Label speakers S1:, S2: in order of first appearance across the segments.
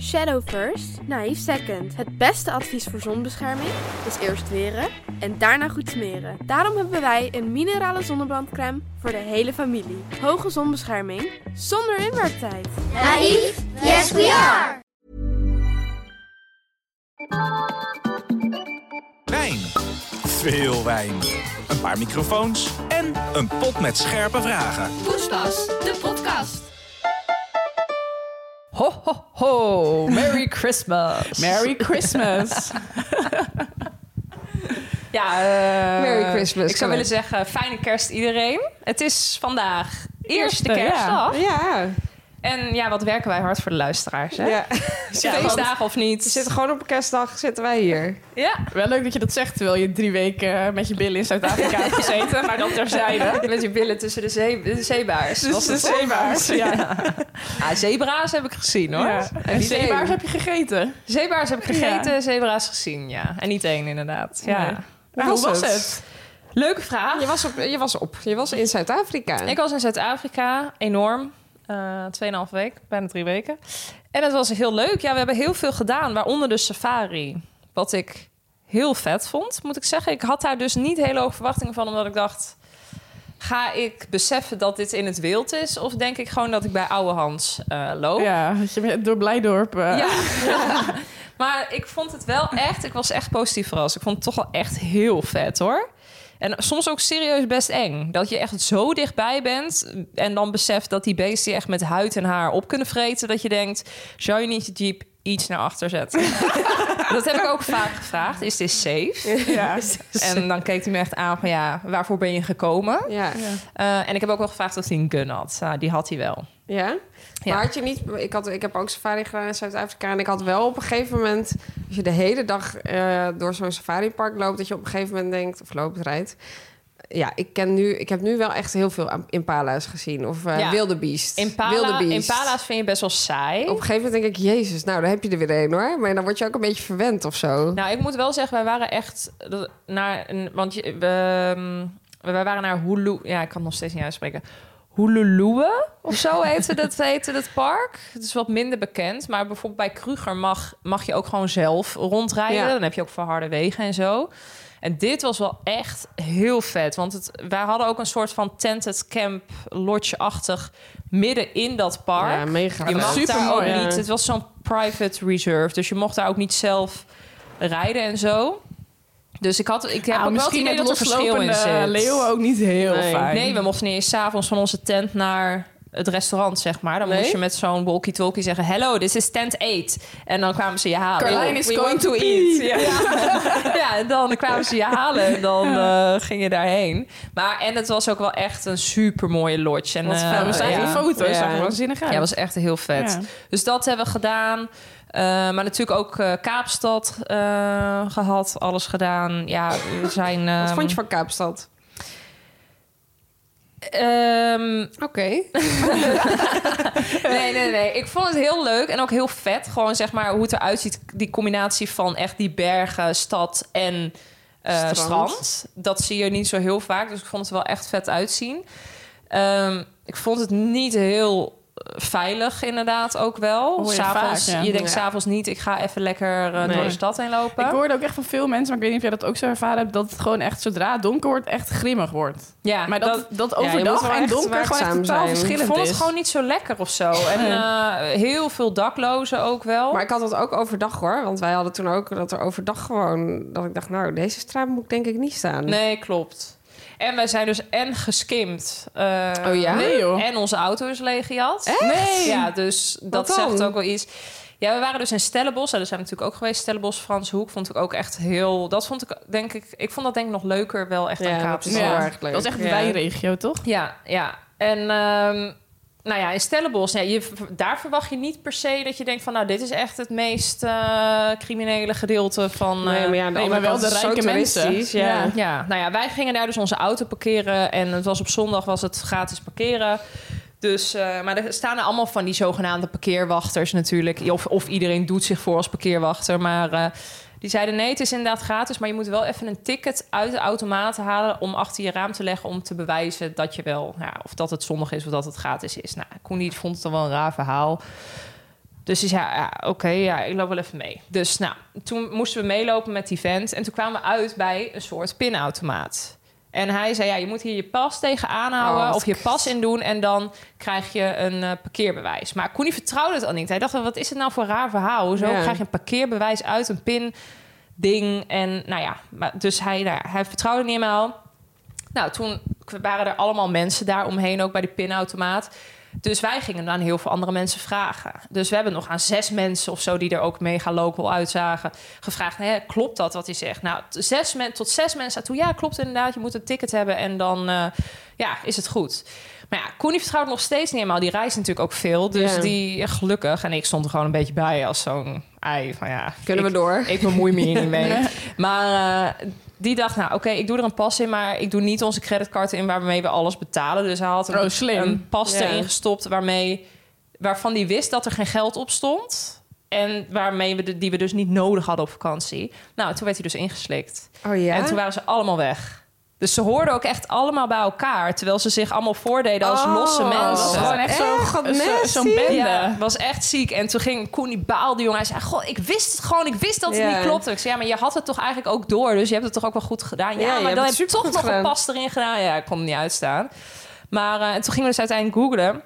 S1: Shadow first, naïef second. Het beste advies voor zonbescherming is eerst weren en daarna goed smeren. Daarom hebben wij een minerale zonnebrandcrème voor de hele familie. Hoge zonbescherming zonder inwerktijd.
S2: Naïef? Yes, we are!
S3: Wijn. Veel wijn. Een paar microfoons en een pot met scherpe vragen.
S4: Poespas, de podcast.
S5: Ho, ho, ho. Merry Christmas.
S6: Merry Christmas. ja, eh,
S7: Merry Christmas,
S6: Ik zou
S7: Colette.
S6: willen zeggen, fijne kerst iedereen. Het is vandaag eerste
S5: Eerste, ja.
S6: kerstdag.
S7: Oh, Ja,
S6: En ja, wat werken wij hard voor de luisteraars, hè?
S7: ja.
S6: Ja, feestdagen of niet.
S7: We zitten gewoon op kerstdag, zitten wij hier.
S6: Ja,
S5: Wel leuk dat je dat zegt terwijl je drie weken met je billen in Zuid-Afrika hebt gezeten.
S6: maar dat terzijde.
S7: Met je billen tussen de, zee, de zeebaars.
S6: was het
S5: zeebaars. Ja.
S6: Ah, zebra's heb ik gezien, hoor.
S5: Ja. En
S7: wie
S5: zeebaars
S7: weet.
S5: heb je gegeten.
S6: Zebra's heb ik gegeten, zebra's gezien, ja. En niet één, inderdaad. Ja.
S5: Nee. Nou,
S7: was
S5: hoe was
S7: het?
S5: het?
S6: Leuke vraag.
S7: Je was op, je was op. Je was in Zuid-Afrika.
S6: Ik was in Zuid-Afrika, enorm. Eh, Tweeënhalf week, bijna drie weken. En het was heel leuk. Ja, we hebben heel veel gedaan, waaronder de safari. Wat ik heel vet vond, moet ik zeggen. Ik had daar dus niet hele hoge verwachtingen van, omdat ik dacht... Ga ik beseffen dat dit in het wild is? Of denk ik gewoon dat ik bij oude Hans eh, loop?
S5: Ja, had je bent door Blijdorp. eh,
S6: Ja. Ja. maar ik vond het wel echt, ik was echt positief verrast. Ik vond het toch wel echt heel vet hoor. En soms ook serieus best eng. Dat je echt zo dichtbij bent en dan beseft dat die beesten je echt met huid en haar op kunnen vreten. Dat je denkt, zou je niet je jeep iets naar achter zetten? dat heb ik ook vaak gevraagd. Is dit safe?
S5: ja.
S6: En dan keek hij me echt aan van ja, waarvoor ben je gekomen?
S7: Ja.
S5: Ja.
S6: Eh, en ik heb ook wel gevraagd of hij een gun had. Nou, die had hij wel.
S7: Ja?
S6: Ja.
S7: Maar had je niet... Ik, had, ik heb ook safari gedaan in Zuid-Afrika. En ik had wel op een gegeven moment... Als je de hele dag eh, door zo'n safaripark loopt... dat je op een gegeven moment denkt... Of loopt, rijdt... Ja, ik, ken nu, ik heb nu wel echt heel veel am- impala's gezien. Of eh
S6: Ja.
S7: wilde beest. wilde
S6: Impala,
S7: beest.
S6: impala's vind je best wel saai.
S7: Op een gegeven moment denk ik... Jezus, nou, daar heb je er weer een, hoor. Maar dan word je ook een beetje verwend of zo.
S6: Nou, ik moet wel zeggen, wij waren echt dat- naar een. Want je- we, ehm, wij waren naar Hulu. Ja, ik kan het nog steeds niet uitspreken. Hululue of zo heette dat, heette dat park. Het is wat minder bekend. Maar bijvoorbeeld bij Kruger mag, mag je ook gewoon zelf rondrijden.
S7: Ja.
S6: Dan heb je ook verharde wegen en zo. En dit was wel echt heel vet. Want het, wij hadden ook een soort van tented camp lodge-achtig midden in dat park.
S7: Ja, mega.
S6: Je
S7: leuk.
S6: mag daar ook
S5: Supermooi, ja.
S6: niet. Het was zo'n private reserve. Dus je mocht daar ook niet zelf rijden en zo. Dus ik had ik heb
S5: Ah,
S6: ook wel het idee dat er verschil in
S5: loslopende
S6: zit.
S5: leeuwen ook niet heel
S7: Nee.
S5: fijn.
S6: Nee, we mochten niet eens 's avonds van onze tent naar het restaurant, zeg maar. Dan
S7: Nee?
S6: moest je met zo'n walkie-talkie zeggen... Hello, this is tent 8. En dan kwamen ze je halen.
S5: Carlijn
S6: Oh.
S5: is
S7: We
S5: going
S7: want
S5: to
S7: to
S5: eat. Ja.
S6: Ja, en dan kwamen ze je halen en dan eh, ging je daarheen. Maar, en het was ook wel echt een super mooie lodge. En,
S7: Wat
S6: eh,
S7: vet,
S5: we staan
S6: ja.
S5: in foto's.
S7: Ja.
S5: Zag er waanzinnig uit.
S6: Ja, was echt heel vet.
S5: Ja.
S6: Dus dat hebben we gedaan. Eh, maar natuurlijk ook eh, Kaapstad eh, gehad, alles gedaan. Ja, we zijn.
S7: Wat
S6: ehm,
S7: vond je van Kaapstad?
S6: ehm,
S7: Oké.
S6: nee, nee, nee. Ik vond het heel leuk en ook heel vet. Gewoon zeg maar hoe het eruit ziet. Die combinatie van echt die bergen, stad en eh,
S7: Strand.
S6: strand. Dat zie je niet zo heel vaak. Dus ik vond het wel echt vet uitzien. Ehm, ik vond het niet heel eh, veilig inderdaad ook wel.
S5: Hoor je
S6: s'avonds,
S5: vaak, ja.
S6: Je denkt
S7: Ja.
S6: s'avonds niet, ik ga even lekker eh, door
S7: Nee.
S6: de stad heen lopen.
S5: Ik hoorde ook echt van veel mensen, maar ik weet niet of jij dat ook zo ervaren hebt, dat het gewoon echt zodra het donker wordt, echt grimmig wordt.
S6: ja,
S5: Maar dat, dat
S7: ja, je
S5: overdag
S7: moet wel
S5: en
S7: echt
S5: donker gewoon echt
S7: waakzaam
S5: totaal
S7: zijn.
S6: ik
S5: verschillend
S6: vond het
S5: is.
S6: gewoon niet zo lekker of zo. En eh, heel veel daklozen ook wel.
S7: Maar ik had dat ook overdag hoor. Want wij hadden toen ook dat er overdag gewoon. Dat ik dacht, nou, deze straat moet ik denk ik niet staan.
S6: Nee, klopt. En wij zijn dus en geskimd. eh,
S7: Oh ja?
S5: Nee, joh.
S6: En onze auto is leeggejat.
S7: Nee.
S6: Ja, dus dat
S7: dan?
S6: zegt ook wel iets. Ja, we waren dus in Stellenbosch. En daar zijn we natuurlijk ook geweest. Stellenbosch, Frans Hoek vond ik ook echt heel... Dat vond ik denk ik... Ik vond dat denk ik nog leuker wel echt aan
S7: Ja, dat is
S6: Kaapstad.
S7: wel
S5: ja.
S7: erg leuk.
S5: Dat is echt een
S7: Ja.
S5: wijregio, toch?
S6: Ja, ja. En ehm, nou ja, in Stellenbosch, ja, je, daar verwacht je niet per se dat je denkt van... nou, dit is echt het meest eh, criminele gedeelte van... eh,
S7: Nee, maar ja, de
S5: nee,
S7: andere
S5: maar wel
S7: kant
S5: de
S7: is zo
S5: rijke mensen.
S7: toeristisch, Ja.
S5: Ja.
S6: ja, nou ja, wij gingen daar dus onze auto parkeren. En het was op zondag was het gratis parkeren. Dus, eh, maar er staan er allemaal van die zogenaamde parkeerwachters natuurlijk. Of, of iedereen doet zich voor als parkeerwachter. Maar eh, die zeiden nee, het is inderdaad gratis. Maar je moet wel even een ticket uit de automaat halen... om achter je raam te leggen om te bewijzen dat je wel... nou Ja, of dat het zondag is of dat het gratis is. Nou, Koen die vond het dan wel een raar verhaal. Dus die zei, ja, oké, ja, ik loop wel even mee. Dus nou, toen moesten we meelopen met die vent. En toen kwamen we uit bij een soort pinautomaat. En hij zei, ja, je moet hier je pas tegen aanhouden...
S7: Oh,
S6: of je
S7: kut.
S6: pas in doen en dan krijg je een eh, parkeerbewijs. Maar Koenie vertrouwde het al niet. Hij dacht, wel, wat is het nou voor een raar verhaal? Hoezo
S7: Ja.
S6: krijg je een parkeerbewijs uit een pin ding. En nou ja, maar, dus hij, nou, hij vertrouwde niet helemaal. Nou, toen waren er allemaal mensen daar omheen, ook bij de pinautomaat. Dus wij gingen aan heel veel andere mensen vragen. Dus we hebben nog aan zes mensen of zo, die er ook mega local uitzagen, gevraagd: Hè, klopt dat wat hij zegt? Nou, t- zes men, tot zes mensen toe, ja, klopt inderdaad. Je moet een ticket hebben en dan eh, ja, is het goed. Maar ja, Koenie vertrouwt nog steeds niet helemaal. Die reist natuurlijk ook veel. Dus
S7: Ja.
S6: die, ja, gelukkig, en ik stond er gewoon een beetje bij als zo'n ei van ja.
S7: Kunnen we
S6: ik-
S7: door?
S6: ik bemoei me hier niet mee. Maar eh, die dacht, nou oké, ik doe er een pas in, maar ik doe niet onze creditcard in waarmee we alles betalen. Dus hij had een,
S5: Oh, slim.
S6: een pas
S7: Ja.
S6: erin gestopt waarmee, waarvan hij wist dat er geen geld op stond. En waarmee we de, die we dus niet nodig hadden op vakantie. Nou, toen werd hij dus ingeslikt.
S7: Oh ja?
S6: En toen waren ze allemaal weg. Dus ze hoorden ook echt allemaal bij elkaar. Terwijl ze zich allemaal voordeden als
S7: Oh.
S6: losse
S5: Dat
S6: mensen.
S5: was gewoon echt zo'n
S7: Echt, wat
S5: zo-
S7: nasty.
S5: zo'n bende.
S6: Ja, was echt ziek. En toen ging Koen die baalde, jongen. Hij zei, goh, ik wist het gewoon. Ik wist dat het
S7: Ja.
S6: niet klopte. Ik zei, ja, maar je had het toch eigenlijk ook door. Dus je hebt het toch ook wel goed gedaan. Ja,
S7: Ja, je
S6: maar
S7: hebt
S6: dan heb
S7: het
S6: je toch
S7: supergoed
S6: nog een
S7: gedaan.
S6: pas erin gedaan. Ja, ik kon er niet uitstaan. Maar eh, en toen gingen we dus uiteindelijk googlen.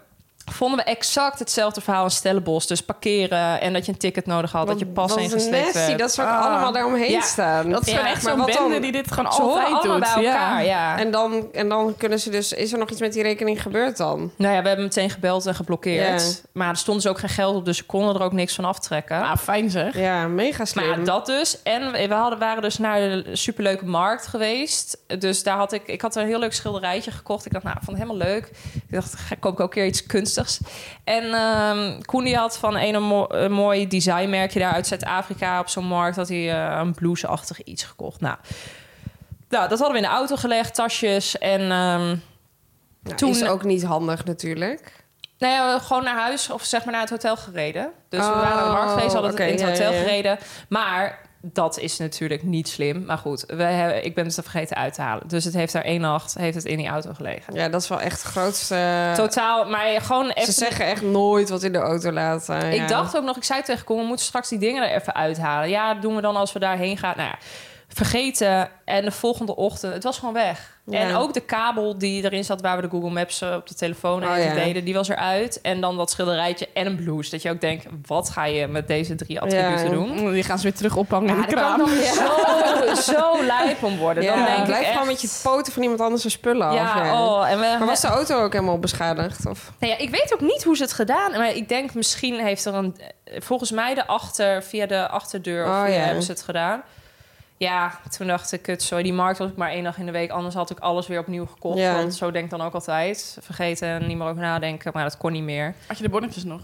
S6: Vonden we exact hetzelfde verhaal in Stellenbosch. Dus parkeren en dat je een ticket nodig had. dat je pas
S7: Wat
S6: ingeslikt
S7: nasty
S6: werd.
S7: dat ze ook
S5: Ah.
S7: allemaal daaromheen
S6: Ja,
S7: staan.
S5: Dat is
S6: Ja,
S5: gewoon echt
S7: maar
S5: zo'n
S7: wat dan?
S5: bende die dit gewoon
S6: Ze horen
S5: altijd
S6: allemaal
S5: doet.
S6: bij
S5: Ah, Ja.
S6: elkaar, ja.
S7: En dan, en dan kunnen ze dus... Is er nog iets met die rekening gebeurd dan?
S6: Nou ja, we hebben meteen gebeld en geblokkeerd.
S7: Ja.
S6: Maar er stond dus ook geen geld op, dus ze konden er ook niks van aftrekken.
S5: Ah, fijn zeg.
S7: Ja, mega slim.
S6: Maar ja, dat dus. En we we hadden, waren dus naar de superleuke markt geweest. Dus daar had ik... Ik had een heel leuk schilderijtje gekocht. Ik dacht, nou, ik vond het helemaal leuk. Ik dacht, ga- koop ik ook weer iets kunstigs. En ehm Koen die had van een, een, mo- een mooi designmerkje daar uit Zuid-Afrika op zo'n markt... had hij eh, een blouseachtig iets gekocht. Nou, nou, dat hadden we in de auto gelegd, tasjes. En ehm,
S7: Nou,
S6: toen-
S7: is ook niet handig natuurlijk.
S6: nou ja, we gewoon naar huis of zeg maar naar het hotel gereden. Dus we
S7: Oh,
S6: waren aan de markt geweest, hadden het
S7: oké,
S6: in het
S7: ja,
S6: hotel
S7: ja, ja.
S6: gereden. Maar dat is natuurlijk niet slim. Maar goed, we hebben, ik ben het er vergeten uit te halen. Dus het heeft daar één nacht heeft het in die auto gelegen.
S7: Ja, dat is wel echt het grootste...
S6: Totaal, maar gewoon
S7: Ze
S6: even...
S7: zeggen echt nooit wat in de auto laten. ja.
S6: Ik dacht ook nog, ik zei tegen Koen, we moeten straks die dingen er even uithalen. Ja, dat doen we dan als we daarheen gaan. Nou ja, vergeten. En de volgende ochtend, het was gewoon weg.
S7: Ja.
S6: En ook de kabel die erin zat, waar we de Google Maps eh, op de telefoon
S7: Oh,
S6: even
S7: ja.
S6: deden, die was eruit. En dan dat schilderijtje en een blouse. Dat je ook denkt, wat ga je met deze drie attributen
S7: Ja.
S6: doen?
S5: Die gaan ze weer terug ophangen
S6: Ja,
S5: in de
S6: daar kan
S5: kraam.
S6: ik nog zo, zo lijp om worden.
S7: Ja,
S6: Dan denk
S7: blijf
S6: ik echt,
S7: gewoon met je poten van iemand anders zijn spullen af.
S6: ja, oh, en we,
S7: Maar was de auto ook helemaal beschadigd? Of?
S6: Nou ja, ik weet ook niet hoe ze het gedaan. Maar ik denk misschien heeft er een. eh, Volgens mij de achter, via de achterdeur of
S7: Oh,
S6: via
S7: ja.
S6: hebben ze het gedaan. Ja, toen dacht ik, kut, sorry, die markt was ik maar één dag in de week. Anders had ik alles weer opnieuw gekocht.
S7: Ja.
S6: Want zo denk ik dan ook altijd. Vergeten en niet meer over nadenken. Maar dat kon niet meer.
S5: Had je de bonnetjes nog?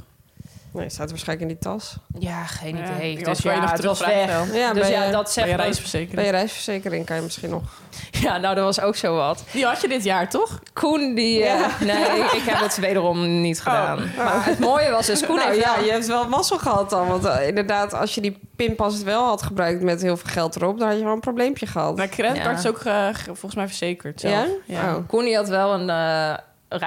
S7: Nee, staat waarschijnlijk in die tas.
S6: Ja, geen
S5: Ja,
S6: idee.
S5: die was
S6: dus
S5: wel
S6: ja,
S5: nog
S6: het was
S5: terugvraagd
S6: weg.
S7: wel. Ja,
S6: dus
S7: bij
S6: ja, dat
S7: je-
S5: Bij je
S6: zegt dan-
S7: Bij
S5: reisverzekering.
S7: je reisverzekering kan je misschien nog.
S6: Ja, nou, dat was ook zo wat.
S5: Die had je dit jaar, toch?
S6: Koen, die... eh, nee, ik, ik heb het wederom niet gedaan. Oh. Maar het mooie was dus, Koen
S7: nou
S6: heeft
S7: ja,
S6: wel-
S7: je hebt wel mazzel gehad dan. Want eh, inderdaad, als je die pinpas wel had gebruikt met heel veel geld erop... dan had je wel een probleempje gehad.
S5: Nou,
S6: Ja.
S5: creditcard is ook eh, ge- volgens mij verzekerd. zelf.
S7: ja?
S5: Ja.
S7: Oh.
S6: Connie had wel een eh,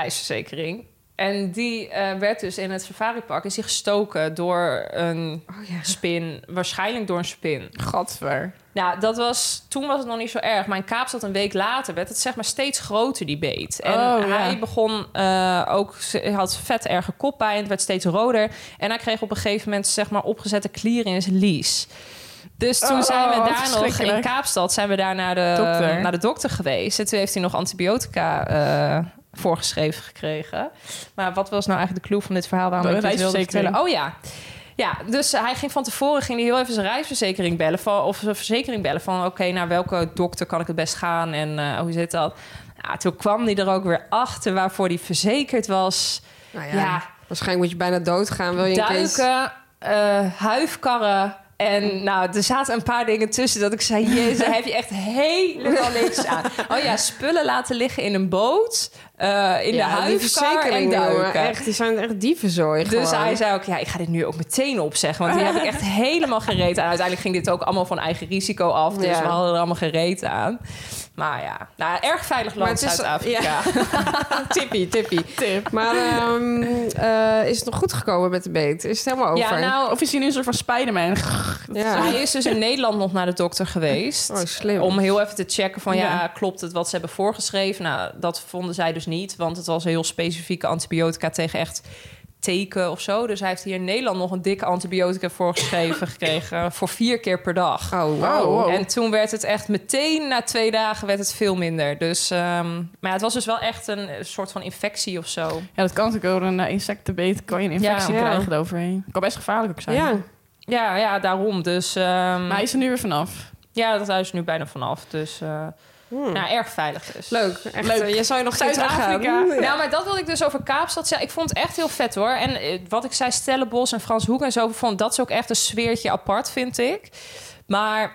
S6: reisverzekering. En die eh, werd dus in het safaripark is die gestoken door een
S7: Oh, ja.
S6: spin. Waarschijnlijk door een spin.
S5: Gadver.
S6: Nou, dat was, toen was het nog niet zo erg. Maar in Kaapstad een week later werd het zeg maar steeds groter, die beet. En
S5: Oh, ja.
S6: hij begon eh, ook, hij had vet erge koppijn. Het werd steeds roder. En hij kreeg op een gegeven moment zeg maar opgezette klieren in zijn lies. Dus toen
S5: Oh,
S6: zijn we
S5: wat
S6: daar nog in
S5: verschrikkelijk.
S6: Kaapstad zijn we daar naar de
S5: Dokter.
S6: naar de dokter geweest. En toen heeft hij nog antibiotica eh, voorgeschreven gekregen. Maar wat was nou eigenlijk de clue van dit verhaal? Waarom
S5: De
S6: ik dit wilde
S5: reisverzekering.
S6: vertellen? Oh ja. Ja, dus hij ging van tevoren ging hij heel even zijn reisverzekering bellen. Van, of zijn verzekering bellen van... oké, naar welke dokter kan ik het best gaan en eh, hoe zit dat? Ja, toen kwam hij er ook weer achter waarvoor hij verzekerd was.
S7: Nou ja,
S6: Ja.
S7: waarschijnlijk moet je bijna doodgaan. Wil je een kees-
S6: Duiken, eh, huifkarren. En nou, er zaten een paar dingen tussen dat ik zei... Jezus, daar heb je echt helemaal niks aan. Oh ja, spullen laten liggen in een boot. eh, in de huifkar en
S7: jongen,
S6: duiken.
S7: echt, die zijn echt dievenzooi
S6: Dus
S7: gewoon.
S6: hij zei ook, ja, ik ga dit nu ook meteen opzeggen. Want die heb ik echt helemaal gereed aan. Uiteindelijk ging dit ook allemaal van eigen risico af. Dus
S7: Ja.
S6: we hadden er allemaal gereed aan. Maar ja, nou, erg veilig
S7: Maar
S6: land
S7: het is-
S6: Zuid-Afrika. tippie, tippie. Tip.
S7: Maar ehm, eh, is het nog goed gekomen met de beet? Is het helemaal over?
S6: Ja, nou,
S5: Of is hij nu een soort van Spider-Man?
S7: Ja.
S6: hij is dus in Nederland nog naar de dokter geweest.
S7: Oh, slim.
S6: Om heel even te checken van, ja,
S5: Ja.
S6: klopt het wat ze hebben voorgeschreven? Nou, dat vonden zij dus niet. Want het was heel specifieke antibiotica tegen echt teken of zo. Dus hij heeft hier in Nederland nog een dikke antibiotica voorgeschreven gekregen. Voor vier keer per dag.
S7: Oh, wow.
S6: En toen werd het echt meteen na twee dagen werd het veel minder. Dus, ehm, maar ja, het was dus wel echt een eh, soort van infectie of zo.
S5: Ja, dat kan natuurlijk ook. Door een eh, insectenbeet kan je een infectie
S7: Ja.
S5: krijgen eroverheen. Kan best gevaarlijk ook zijn.
S7: Ja,
S6: Ja, ja daarom. Dus ehm,
S5: Maar hij is er nu weer vanaf.
S6: ja, dat huis is nu bijna vanaf. Dus eh, nou, erg veilig dus.
S7: Hm. leuk. Hmm. Echt,
S5: Leuk.
S7: eh, Je zou je nog geen teruggaan.
S5: Zuid-Afrika.
S6: Nou, maar dat wilde ik dus over Kaapstad zeggen. Ik vond het echt heel vet hoor. En eh, wat ik zei, Stellenbosch en Frans Hoek en zo, vond dat is ook echt een sfeertje apart, vind ik. Maar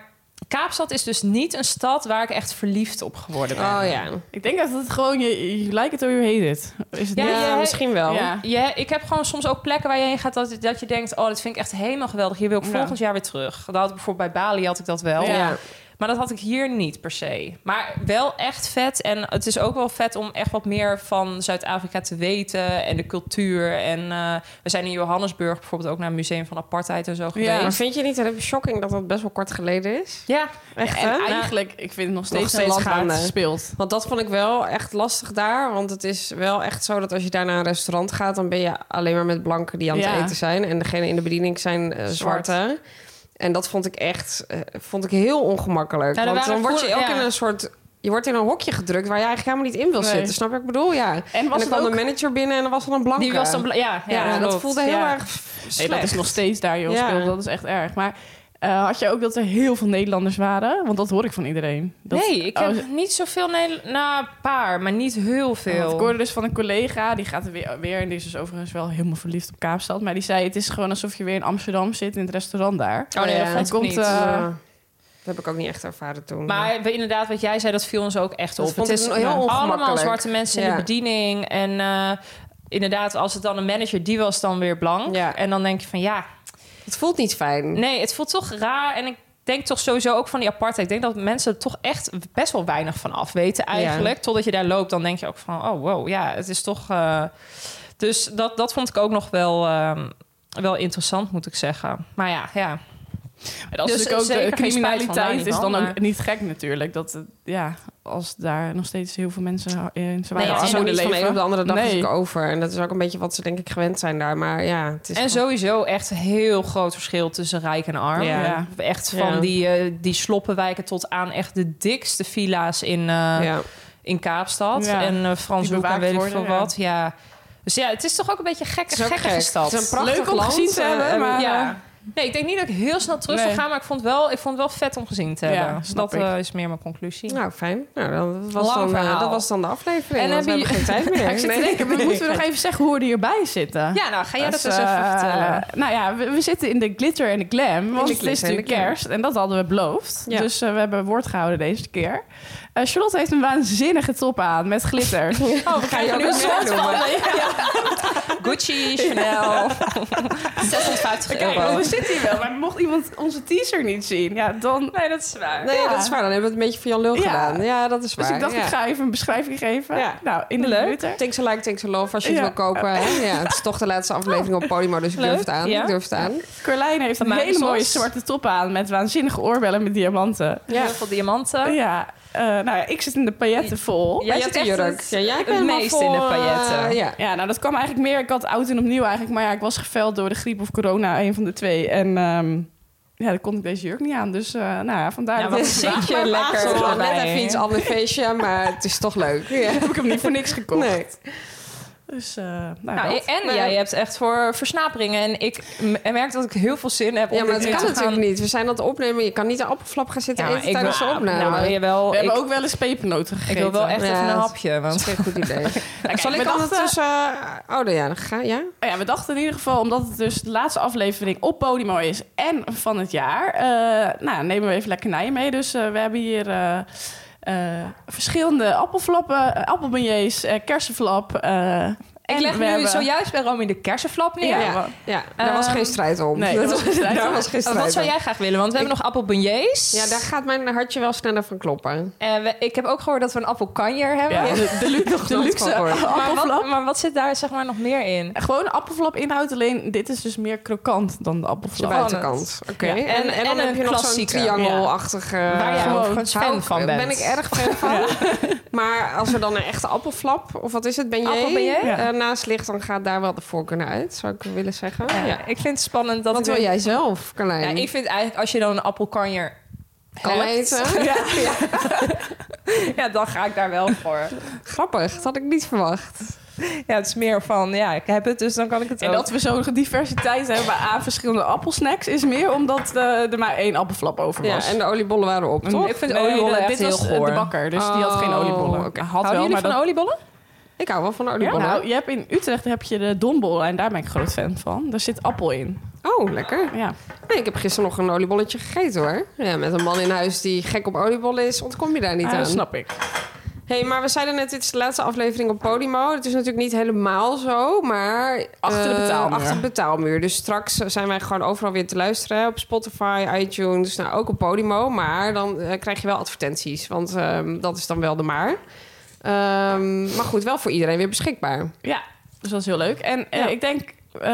S6: Kaapstad is dus niet een stad waar ik echt verliefd op geworden ben.
S7: Oh ja.
S5: Ik denk dat het gewoon... Je, you like it or you hate it. Is het
S6: Ja,
S5: niet?
S7: Ja,
S6: je-
S7: misschien wel.
S5: Ja.
S6: Ja, ik heb gewoon soms ook plekken waar je heen gaat dat, dat je denkt... oh, dat vind ik echt helemaal geweldig. Hier wil ik
S5: Ja.
S6: volgend jaar weer terug. Dat had ik bijvoorbeeld bij Bali had ik dat wel.
S7: Ja.
S6: Maar dat had ik hier niet per se. Maar wel echt vet. En het is ook wel vet om echt wat meer van Zuid-Afrika te weten... en de cultuur. En eh, we zijn in Johannesburg bijvoorbeeld ook naar het Museum van Apartheid en zo
S7: Maar
S6: geweest.
S7: vind je niet even shocking dat dat best wel kort geleden is?
S6: Ja,
S7: Echt,
S5: En
S7: hè?
S5: eigenlijk, ik vind het nog steeds,
S7: Nog steeds
S5: een land waar het
S7: gaande.
S5: speelt.
S7: Want dat vond ik wel echt lastig daar. Want het is wel echt zo dat als je daar naar een restaurant gaat... dan ben je alleen maar met blanken die aan het
S5: Ja.
S7: eten zijn. En degene in de bediening zijn eh,
S5: Zwart.
S7: zwarte. En dat vond ik echt eh, vond ik heel ongemakkelijk.
S6: Ja, er
S7: want
S6: waren
S7: dan word je
S6: voor-
S7: ook
S6: ja.
S7: in een soort... Je wordt in een hokje gedrukt waar je eigenlijk helemaal niet in wil
S5: Nee.
S7: zitten. Snap je wat ik bedoel? Ja.
S5: En
S7: en
S5: was
S7: dan
S5: het
S7: kwam
S5: ook...
S7: de manager binnen en er was dan een blanke.
S6: die was dan... bla- Ja, ja,
S7: ja, dat
S6: klopt.
S7: voelde heel
S6: Ja.
S7: erg slecht.
S5: Nee, dat is nog steeds daar, joh.
S7: Ja.
S5: speelt. Dat is echt erg. Maar eh, had je ook dat er heel veel Nederlanders waren? Want dat hoor ik van iedereen. Dat,
S6: nee, ik
S5: Oh,
S6: heb niet zoveel... Nederla- Nou, een paar, maar niet heel
S5: Want
S6: veel.
S5: ik hoorde dus van een collega, die gaat er weer, weer... en die is dus overigens wel helemaal verliefd op Kaapstad... maar die zei, het is gewoon alsof je weer in Amsterdam zit... in het restaurant daar.
S6: Oh nee,
S7: Ja.
S6: dat vond ik
S5: Komt,
S6: niet.
S5: eh,
S7: Ja. Dat heb ik ook niet echt ervaren toen.
S6: Maar we- inderdaad, wat jij zei, dat viel ons ook echt
S7: Dat
S6: op.
S7: vond
S6: Het is
S7: ik heel
S6: allemaal
S7: ongemakkelijk.
S6: zwarte mensen in
S7: Ja.
S6: de bediening. En eh, inderdaad, als het dan een manager, die was dan weer blank.
S7: Ja.
S6: En dan denk je van ja,
S7: het voelt niet fijn.
S6: nee, het voelt toch raar. En ik denk toch sowieso ook van die apartheid. Ik denk dat mensen er toch echt best wel weinig van af weten eigenlijk. Totdat je daar loopt, dan denk je ook van oh wow, ja, het is toch... eh, Dus dat, dat vond ik ook nog wel, ehm, wel interessant, moet ik zeggen. Maar ja, ja.
S5: En dat is
S6: Dus
S5: natuurlijk ook
S6: zeker
S5: de
S6: geen spijt van, daar
S5: criminaliteit
S6: niet
S5: is
S6: van,
S5: dan ook
S6: maar-
S5: niet gek natuurlijk. Dat, het- ja, als daar nog steeds heel veel mensen in
S6: Nee,
S5: zwaar
S7: Ja,
S6: ja,
S7: het is ook
S5: armoede
S7: niet van de een op de
S5: leven...
S7: andere dag
S5: Nee.
S7: natuurlijk over. En dat is ook een beetje wat ze denk ik gewend zijn daar. Maar ja, het is
S6: En sowieso echt een heel groot verschil tussen rijk en arm.
S7: Ja.
S5: Ja.
S6: Echt van
S7: Ja.
S6: die, eh, die sloppenwijken tot aan echt de dikste villa's in, eh,
S7: ja.
S6: in Kaapstad.
S5: Ja.
S6: En eh, Frans
S5: Die
S6: Hoek en
S5: bewaakt
S6: weet ik
S5: worden,
S6: veel
S5: ja.
S6: wat. Ja. Dus ja, het is toch ook een beetje een gekke,
S7: Het is ook
S6: gekkige
S7: gek.
S6: stad.
S7: Het is een prachtig
S5: Leuk om
S7: land,
S5: gezien te
S7: eh,
S5: hebben,
S7: en-
S5: maar...
S6: ja. Nee, ik denk niet dat ik heel snel terug
S5: Nee.
S6: zou gaan, maar ik vond, wel, ik vond het wel vet om gezien te
S5: Ja,
S6: hebben. Dus
S5: snap
S6: dat
S5: ik.
S6: eh, is meer mijn conclusie.
S7: Nou, fijn. Nou, dat,
S6: Lang
S7: was dan, eh,
S6: verhaal.
S7: dat was dan de aflevering.
S6: En
S7: En want we
S6: hebben
S7: hebben geen tijd
S5: Ja,
S7: meer.
S5: ik zit te
S7: Nee.
S5: denken, we moeten nog even zeggen hoe we hierbij zitten.
S6: ja, nou ga jij dat
S5: Dus,
S6: eens even
S5: eh,
S6: vertellen.
S5: Nou ja, we, we zitten in de glitter en de glam. Want
S7: de
S5: het is
S7: glitter en de
S5: natuurlijk
S7: glam.
S5: kerst. En dat hadden we beloofd.
S7: Ja.
S5: Dus eh, we hebben woord gehouden deze keer. Eh, Charlotte heeft een waanzinnige top aan met glitter.
S6: Oh, we krijgen
S7: ook
S6: nu een
S7: een
S6: soort
S7: merk
S6: van... Gucci, Chanel. 56
S5: Kijk,
S6: euro.
S5: we zitten hier wel. Maar mocht iemand onze teaser niet zien, ja, dan...
S6: Nee, dat is waar.
S7: Nee,
S5: Ja.
S7: dat is waar. Dan hebben we het een beetje voor Jan Lul
S5: Ja.
S7: gedaan. Ja, dat is waar.
S5: Dus ik dacht,
S7: ja.
S5: ik ga even een beschrijving geven.
S7: Ja.
S5: Nou, in de
S7: Leuk.
S5: glitter.
S7: Thanks a like, thanks a love als je het
S5: Ja.
S7: wil kopen. hè. Ja, het is toch de laatste aflevering op Podimo, dus ik
S6: Leuk.
S7: durf het aan.
S6: Ja.
S7: Ik durf het aan.
S5: Carlijn heeft een
S6: Maak
S5: hele
S6: eens
S5: mooie
S6: los.
S5: zwarte top aan met waanzinnige oorbellen met diamanten.
S6: Heel veel diamanten.
S5: Ja, eh, nou ja, ik zit in de pailletten vol.
S6: Jij zit echt
S7: Paillettenjurk.
S6: het-
S7: Ja, jij
S6: het
S7: bent helemaal
S6: meest in de
S7: vol, eh,
S6: pailletten.
S7: ja.
S5: Ja, nou dat kwam eigenlijk meer. Ik had oud en opnieuw eigenlijk. Maar ja, ik was geveld door de griep of corona, een van de twee. En ehm, ja, daar kon ik deze jurk niet aan. Dus eh, nou ja, vandaar
S6: Ja,
S5: dat
S6: wat
S5: ik-
S6: zit je lekker
S7: Het is wel
S6: erbij.
S7: net even iets ander feestje, maar het is toch leuk. Ja.
S5: heb ik hem niet voor niks gekocht.
S7: Nee.
S5: Dus eh, nou,
S6: Nou,
S5: dat.
S6: en
S7: Nee.
S6: jij hebt echt voor versnaperingen. En ik m- merk dat ik heel veel zin heb om
S7: Ja, maar
S6: dit
S7: het
S6: nu
S7: kan
S6: te
S7: natuurlijk
S6: gaan-
S7: niet. We zijn aan het opnemen. Je kan niet een appelflap gaan zitten
S6: Ja, maar
S7: eten
S6: ik
S7: tijdens de
S6: wil,
S7: opname.
S6: nou, maar jawel,
S5: we
S6: ik,
S5: hebben ook wel eens pepernoten gegeten.
S6: ik wil wel echt
S7: Ja,
S6: even een
S7: het-
S6: hapje.
S7: dat is
S6: Want
S7: geen goed idee.
S5: Nou, kijk,
S7: Zal
S5: we
S7: ik
S5: dachten-
S7: ondertussen... eh, oh, ja, dan ga ja?
S5: Nou Ja, we dachten in ieder geval, omdat het dus de laatste aflevering op Podimo is en van het jaar, eh, nou, nemen we even lekker Nijen mee. Dus eh, we hebben hier eh, eh, verschillende appelflappen, eh, appelbeignets, eh, kersenflap. eh,
S6: Ik
S5: en
S6: leg
S5: we
S6: nu
S5: hebben-
S6: zojuist bij Romy de kersenflap neer.
S5: Ja,
S7: Ja,
S5: maar-
S7: ja, daar was
S6: Ehm,
S7: geen strijd om.
S5: nee, daar was geen strijd
S7: daar
S5: om.
S7: was geen
S6: Uh,
S7: strijd
S6: Wat zou
S7: om.
S6: jij graag willen? Want we hebben nog appelbeignets.
S7: Ja, daar gaat mijn hartje wel sneller van kloppen.
S6: Eh, we- ik heb ook gehoord dat we een appelkanjer hebben.
S5: Ja, de, de, lu- de
S7: nooit
S5: luxe
S7: van gehoord.
S6: Maar,
S5: appelflap.
S6: wat, maar wat zit daar zeg maar nog meer in?
S5: Gewoon appelflap inhoud, alleen dit is dus meer krokant dan de
S7: De
S5: appelflap.
S6: Spannend.
S7: buitenkant. Oké.
S6: Ja, en-
S7: En, en,
S6: en
S7: dan
S6: een
S7: heb je nog zo'n
S6: klassieker.
S7: triangelachtige...
S6: Waar jij
S5: gewoon
S6: overigens fan
S7: Hou ik-
S6: van bent.
S7: Ben ik erg fan van. Maar als er dan een echte appelflap, of wat is het, ben eh,
S6: Appelbeignet?
S5: Ja.
S7: naast ligt, dan gaat daar wel de voorkeur naar uit, zou ik willen zeggen.
S6: Ja,
S7: Ja.
S6: Ik vind het spannend dat
S7: Wat
S6: ik
S7: wil
S6: denk-
S7: jij zelf,
S6: Ja,
S7: Carlijn?
S6: ik vind eigenlijk als je dan een appelkanjer
S7: kan
S6: hebt,
S7: eten.
S6: Ja, dan ga ik daar wel voor.
S7: Grappig, dat had ik niet verwacht.
S6: Ja, het is meer van, ja, ik heb het, dus dan kan ik het
S5: En
S6: ook.
S5: dat we zo'n diversiteit hebben aan verschillende appelsnacks is meer omdat eh, er maar één appelflap over
S7: Ja,
S5: was.
S7: en de oliebollen waren op, toch?
S6: ik vind oliebollen
S5: dat-
S6: echt
S5: dit
S6: heel
S5: was eh,
S6: goor.
S5: de bakker, dus die had geen
S7: Oh,
S5: oliebollen.
S7: oké.
S5: Had
S6: Houden
S5: wel,
S6: jullie
S5: maar
S6: van
S5: dat-
S6: oliebollen?
S7: Ik hou wel van
S5: Ja,
S7: oliebollen.
S5: nou, je hebt in Utrecht heb je de donbol en daar ben ik groot fan van. Daar zit appel in.
S7: Oh, lekker.
S5: Ja.
S7: Nee, ik heb gisteren nog een oliebolletje gegeten, hoor. Ja, met een man in huis die gek op oliebollen is, ontkom je daar niet
S5: Ah,
S7: aan.
S5: dat snap ik.
S7: Hé, hey, maar we zeiden net, dit is de laatste aflevering op Podimo. Het is natuurlijk niet helemaal zo, maar...
S5: Achter de
S7: eh,
S5: betaalmuur.
S7: achter de betaalmuur. Dus straks eh, zijn wij gewoon overal weer te luisteren. hè, Op Spotify, iTunes, nou ook op Podimo. Maar dan eh, krijg je wel advertenties, want ehm, dat is dan wel de maar. Ehm, maar goed, wel voor iedereen weer beschikbaar.
S5: Ja, dus dat is heel leuk. En eh,
S7: Ja.
S5: ik denk, eh,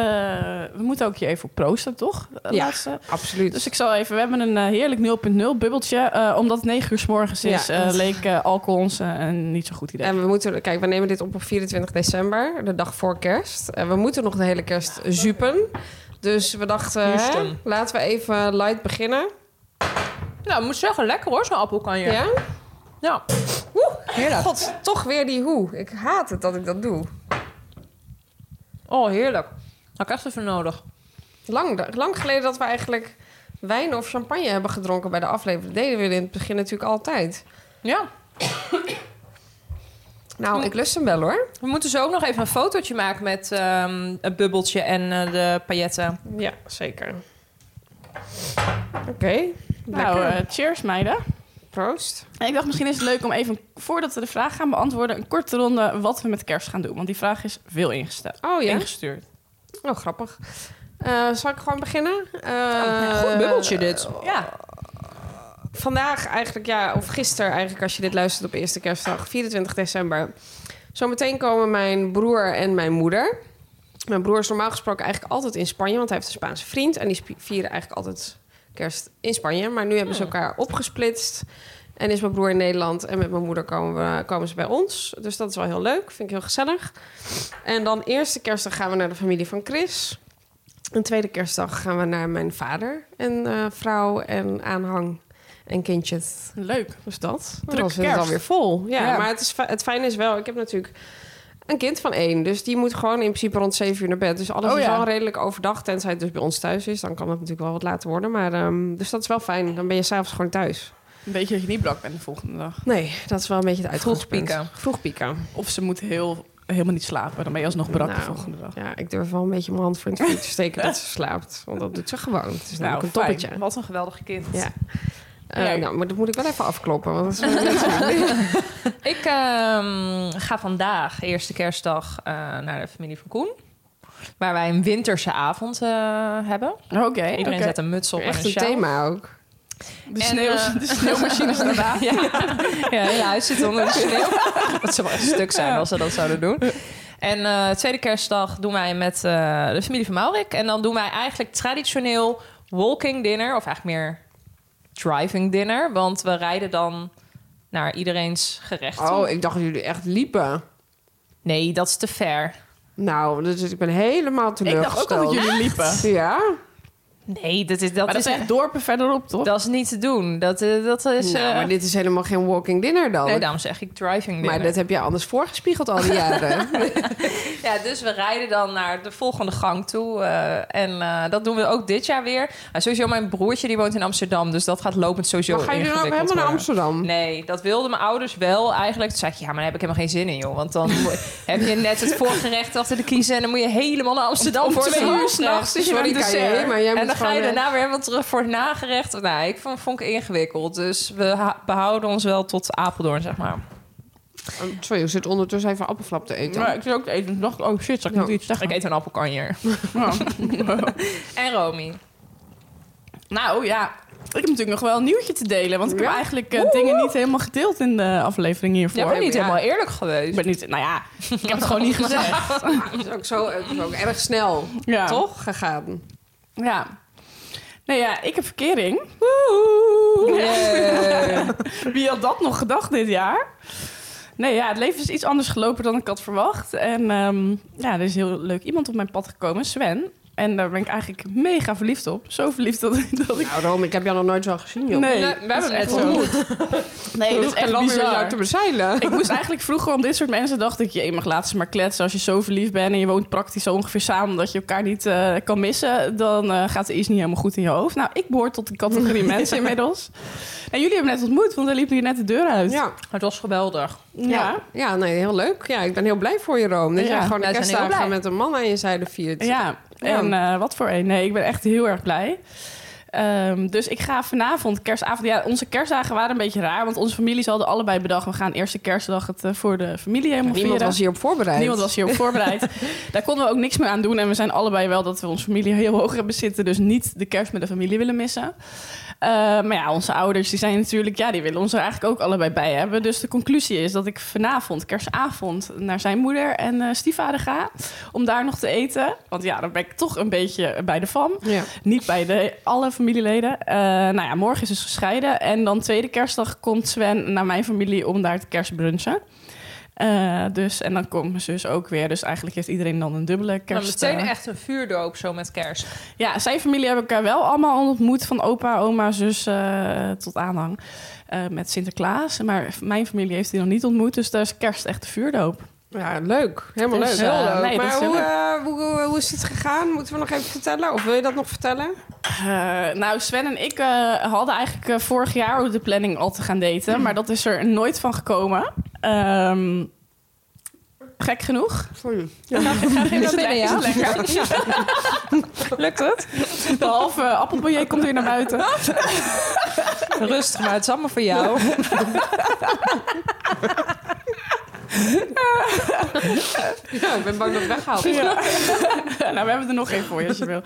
S5: we moeten ook hier even op proosten, toch? De
S7: Ja.
S5: laatste.
S7: Absoluut.
S5: Dus ik zal even, we hebben een eh, heerlijk 0.0 bubbeltje. eh, omdat het 9 uur s morgens is,
S7: Ja.
S5: eh, leek eh, alcohol ons eh, een niet zo goed idee.
S7: En we moeten, kijk, we nemen dit op op 24 december, de dag voor kerst. En we moeten nog de hele kerst zuipen. Dus we dachten, hè,
S6: Houston.
S7: laten we even light beginnen.
S6: Nou, ik moet zeggen, lekker hoor, zo'n appelkanjer.
S7: Ja?
S6: Ja.
S7: Oeh, God, toch weer die hoe. Ik haat het dat ik dat doe.
S6: Oh, heerlijk. Had ik echt even nodig.
S7: Lang, lang geleden dat we eigenlijk wijn of champagne hebben gedronken bij de aflevering. Deden we in het begin natuurlijk altijd.
S6: Ja.
S7: Nou, ik lust hem wel hoor.
S6: We moeten zo ook nog even een fotootje maken met ehm, het bubbeltje en eh, de pailletten.
S7: Ja, zeker. Oké,
S5: nou, eh, cheers meiden.
S7: proost.
S5: En ik dacht, misschien is het leuk om even, voordat we de vraag gaan beantwoorden... een korte ronde wat we met kerst gaan doen. Want die vraag is veel ingesteld.
S7: Oh ja,
S5: Ingestuurd.
S7: oh, grappig. Eh, zal ik gewoon beginnen? Eh,
S6: Oh, goed bubbeltje dus. dit. Ja.
S7: vandaag eigenlijk, ja, of gisteren eigenlijk, als je dit luistert op eerste kerstdag, 24 december. Zometeen komen mijn broer en mijn moeder. Mijn broer is normaal gesproken eigenlijk altijd in Spanje, want hij heeft een Spaanse vriend. En die spi- vieren eigenlijk altijd kerst in Spanje. Maar nu hebben ze elkaar opgesplitst. En is mijn broer in Nederland en met mijn moeder komen, we, komen ze bij ons. Dus dat is wel heel leuk, vind ik heel gezellig. En dan eerste kerstdag gaan we naar de familie van Chris. En tweede kerstdag gaan we naar mijn vader en eh, vrouw en aanhang en kindjes.
S5: Leuk.
S7: Dus dat.
S5: Druk
S7: dan zit het
S5: kerst.
S7: alweer vol. Ja,
S5: Ja.
S7: maar het, is, fi- het fijne is wel, ik heb natuurlijk een kind van één. Dus die moet gewoon in principe rond zeven uur naar bed. Dus alles
S5: Oh
S7: is
S5: ja.
S7: wel redelijk overdag. Tenzij het dus bij ons thuis is. Dan kan het natuurlijk wel wat later worden. Maar, ehm, dus dat is wel fijn. Dan ben je s'avonds gewoon thuis.
S5: Een beetje dat je niet brak bent de volgende dag.
S7: Nee, dat is wel een beetje het uitgangspunt.
S6: pieken.
S7: Vroeg pieken.
S5: Of ze moet heel, helemaal niet slapen. Dan ben je alsnog brak de
S7: Nou,
S5: volgende dag.
S7: Ja, ik durf wel een beetje mijn hand voor in het vuur te steken dat ze slaapt. Want dat doet ze gewoon. Het is
S5: Nou,
S7: namelijk een
S5: fijn.
S7: toppetje.
S6: Wat een geweldig kind.
S7: Ja. Eh,
S5: Ja.
S7: nou, maar dat moet ik wel even afkloppen. Want dat is
S6: Ik ehm, ga vandaag, eerste kerstdag, eh, naar de familie van Koen. Waar wij een winterse avond eh, hebben.
S5: Oké,
S6: Iedereen
S5: oké.
S6: zet een muts op
S7: echt
S6: en
S7: een
S6: sjaal.
S7: thema ook.
S5: De,
S6: En,
S5: sneeuw,
S6: eh,
S5: de sneeuwmachine staat aan.
S6: Ja, ja heel huis zit onder de sneeuw. Dat zou wel een stuk zijn als ze dat zouden doen. En eh, tweede kerstdag doen wij met eh, de familie van Maurik. En dan doen wij eigenlijk traditioneel walking dinner. Of eigenlijk meer driving dinner. Want we rijden dan naar iedereens gerecht toe.
S7: Oh, ik dacht dat jullie echt liepen.
S6: Nee, dat is te ver.
S7: Nou, dus ik ben helemaal
S5: Ik
S7: teleurgesteld.
S5: dacht ook al dat jullie liepen.
S7: Ja?
S6: Nee, dat is, dat
S5: maar dat
S6: is,
S5: zijn echt dorpen verderop, toch?
S6: dat is niet te doen. Dat, eh, dat
S5: Dus,
S6: is...
S7: nou,
S6: eh,
S7: maar dit is helemaal geen walking dinner dan.
S6: Nee, daarom zeg ik driving dinner.
S7: maar dat heb je anders voorgespiegeld al die jaren.
S6: Ja, dus we rijden dan naar de volgende gang toe. eh, en eh, dat doen we ook dit jaar weer. Maar sowieso mijn broertje die woont in Amsterdam. Dus dat gaat lopend sowieso
S7: maar ga je dan ook
S6: ingewikkeld
S7: helemaal naar
S6: worden.
S7: Amsterdam?
S6: Nee, dat wilden mijn ouders wel eigenlijk. Toen zei ik, ja, maar daar heb ik helemaal geen zin in, joh. Want dan mo- heb je net het voorgerecht achter de kiezen... en dan moet je helemaal naar Amsterdam
S5: om
S6: voor
S5: twee
S6: het
S5: uur
S6: voorgerecht. dus,
S5: s'nachts is je
S7: Sorry,
S5: aan het
S7: Kanye,
S5: dessert.
S7: maar jij
S6: En
S7: moet
S6: dan ga
S7: gewoon,
S6: je
S7: eh,
S6: daarna weer helemaal terug voor het nagerecht. Nou, ik vond, vond ik ingewikkeld. Dus we ha- behouden ons wel tot Apeldoorn, zeg maar.
S7: oh, Sorry, ik zit ondertussen even appelflap te eten.
S5: Maar ik zit ook te eten. Toen dacht ik, oh shit, zal ik
S7: Ja.
S5: moet iets zeggen?
S6: Ik eet een appelkanjer.
S5: Ja.
S6: En Romy.
S5: Nou ja, ik heb natuurlijk nog wel een nieuwtje te delen. Want ik heb
S7: Ja?
S5: eigenlijk eh, dingen niet helemaal gedeeld in de aflevering hiervoor.
S6: Jij bent niet
S5: Ja.
S6: helemaal eerlijk
S5: Ik
S6: geweest.
S5: ben niet, nou ja, ik heb het gewoon niet gezegd.
S7: Het is ook zo het is ook erg snel,
S5: Ja.
S7: toch? Gegaan.
S5: Ja. Nee ja, ik heb verkering.
S6: Yeah.
S5: Wie had dat nog gedacht dit jaar? Nee ja, het leven is iets anders gelopen dan ik had verwacht. En ehm, ja, er is heel leuk iemand op mijn pad gekomen, Sven. En daar ben ik eigenlijk mega verliefd op. Zo verliefd dat, dat ik...
S7: Nou, Rome, ik heb jou nog nooit zo gezien, joh.
S5: Nee,
S6: we
S5: dat
S6: hebben
S5: is
S6: hem
S5: echt
S6: niet
S5: zo.
S6: ontmoet.
S5: Nee, dat is echt bizar.
S7: jou te bezeilen.
S5: Ik moest eigenlijk vroeger om dit soort mensen dacht ik, je mag laat ze maar kletsen. Als je zo verliefd bent en je woont praktisch zo ongeveer samen dat je elkaar niet eh, kan missen, dan eh, gaat er iets niet helemaal goed in je hoofd. Nou, ik behoor tot de categorie mensen inmiddels. En jullie hebben net ontmoet, want daar liepen jullie net de deur uit.
S7: Ja.
S6: Het was geweldig.
S5: ja.
S7: ja, nee, heel leuk. Ja, ik ben heel blij voor je, Rome. Dat
S5: Ja,
S7: jij gewoon de
S6: wij zijn heel blij.
S7: kerstdagen met een man aan je zijde viert.
S5: Ja, en eh, wat voor een. Nee, ik ben echt heel erg blij. Ehm, dus ik ga vanavond, kerstavond... Ja, onze kerstdagen waren een beetje raar, want onze families hadden allebei bedacht... we gaan eerste kerstdag het eh, voor de familie helemaal
S7: Niemand
S5: vieren.
S7: was hierop voorbereid.
S5: Niemand was hierop voorbereid. Daar konden we ook niks meer aan doen. En we zijn allebei wel dat we onze familie heel hoog hebben zitten. Dus niet de kerst met de familie willen missen. Eh, maar ja, onze ouders die zijn natuurlijk... Ja, die willen ons er eigenlijk ook allebei bij hebben. Dus de conclusie is dat ik vanavond, kerstavond... naar zijn moeder en eh, stiefvader ga. Om daar nog te eten. Want ja, dan ben ik toch een beetje bij de fam.
S7: Ja.
S5: Niet bij de, alle familieleden. Eh, nou ja, morgen is dus gescheiden. En dan tweede kerstdag komt Sven naar mijn familie om daar te kerstbrunchen. Eh, dus, en dan komt mijn zus ook weer. Dus eigenlijk heeft iedereen dan een dubbele
S6: Maar
S5: kerst.
S6: Nou, meteen
S5: eh.
S6: echt een vuurdoop zo met kerst.
S5: Ja, zijn familie heb ik elkaar wel allemaal ontmoet. Van opa, oma, zus eh, tot aanhang. eh, met Sinterklaas. Maar mijn familie heeft die nog niet ontmoet. Dus daar is kerst echt de vuurdoop.
S7: Ja, leuk. Helemaal
S5: Dus,
S7: leuk.
S5: eh,
S7: Heel leuk.
S5: nee, dat
S7: maar
S5: is heel
S7: hoe, eh, hoe, hoe, hoe is het gegaan? Moeten we nog even vertellen? Of wil je dat nog vertellen?
S5: Eh, nou, Sven en ik eh, hadden eigenlijk eh, vorig jaar ook de planning al te gaan daten. Maar dat is er nooit van gekomen. Ehm, gek genoeg.
S7: Sorry.
S5: Is het lekker? Is het lekker?
S6: Lukt het?
S5: De halve appelbillet komt weer naar buiten.
S6: Rustig, maar het is allemaal voor jou.
S7: Ja, ik ben bang dat het weghaalt.
S5: nou, we hebben er nog één voor je als je wil.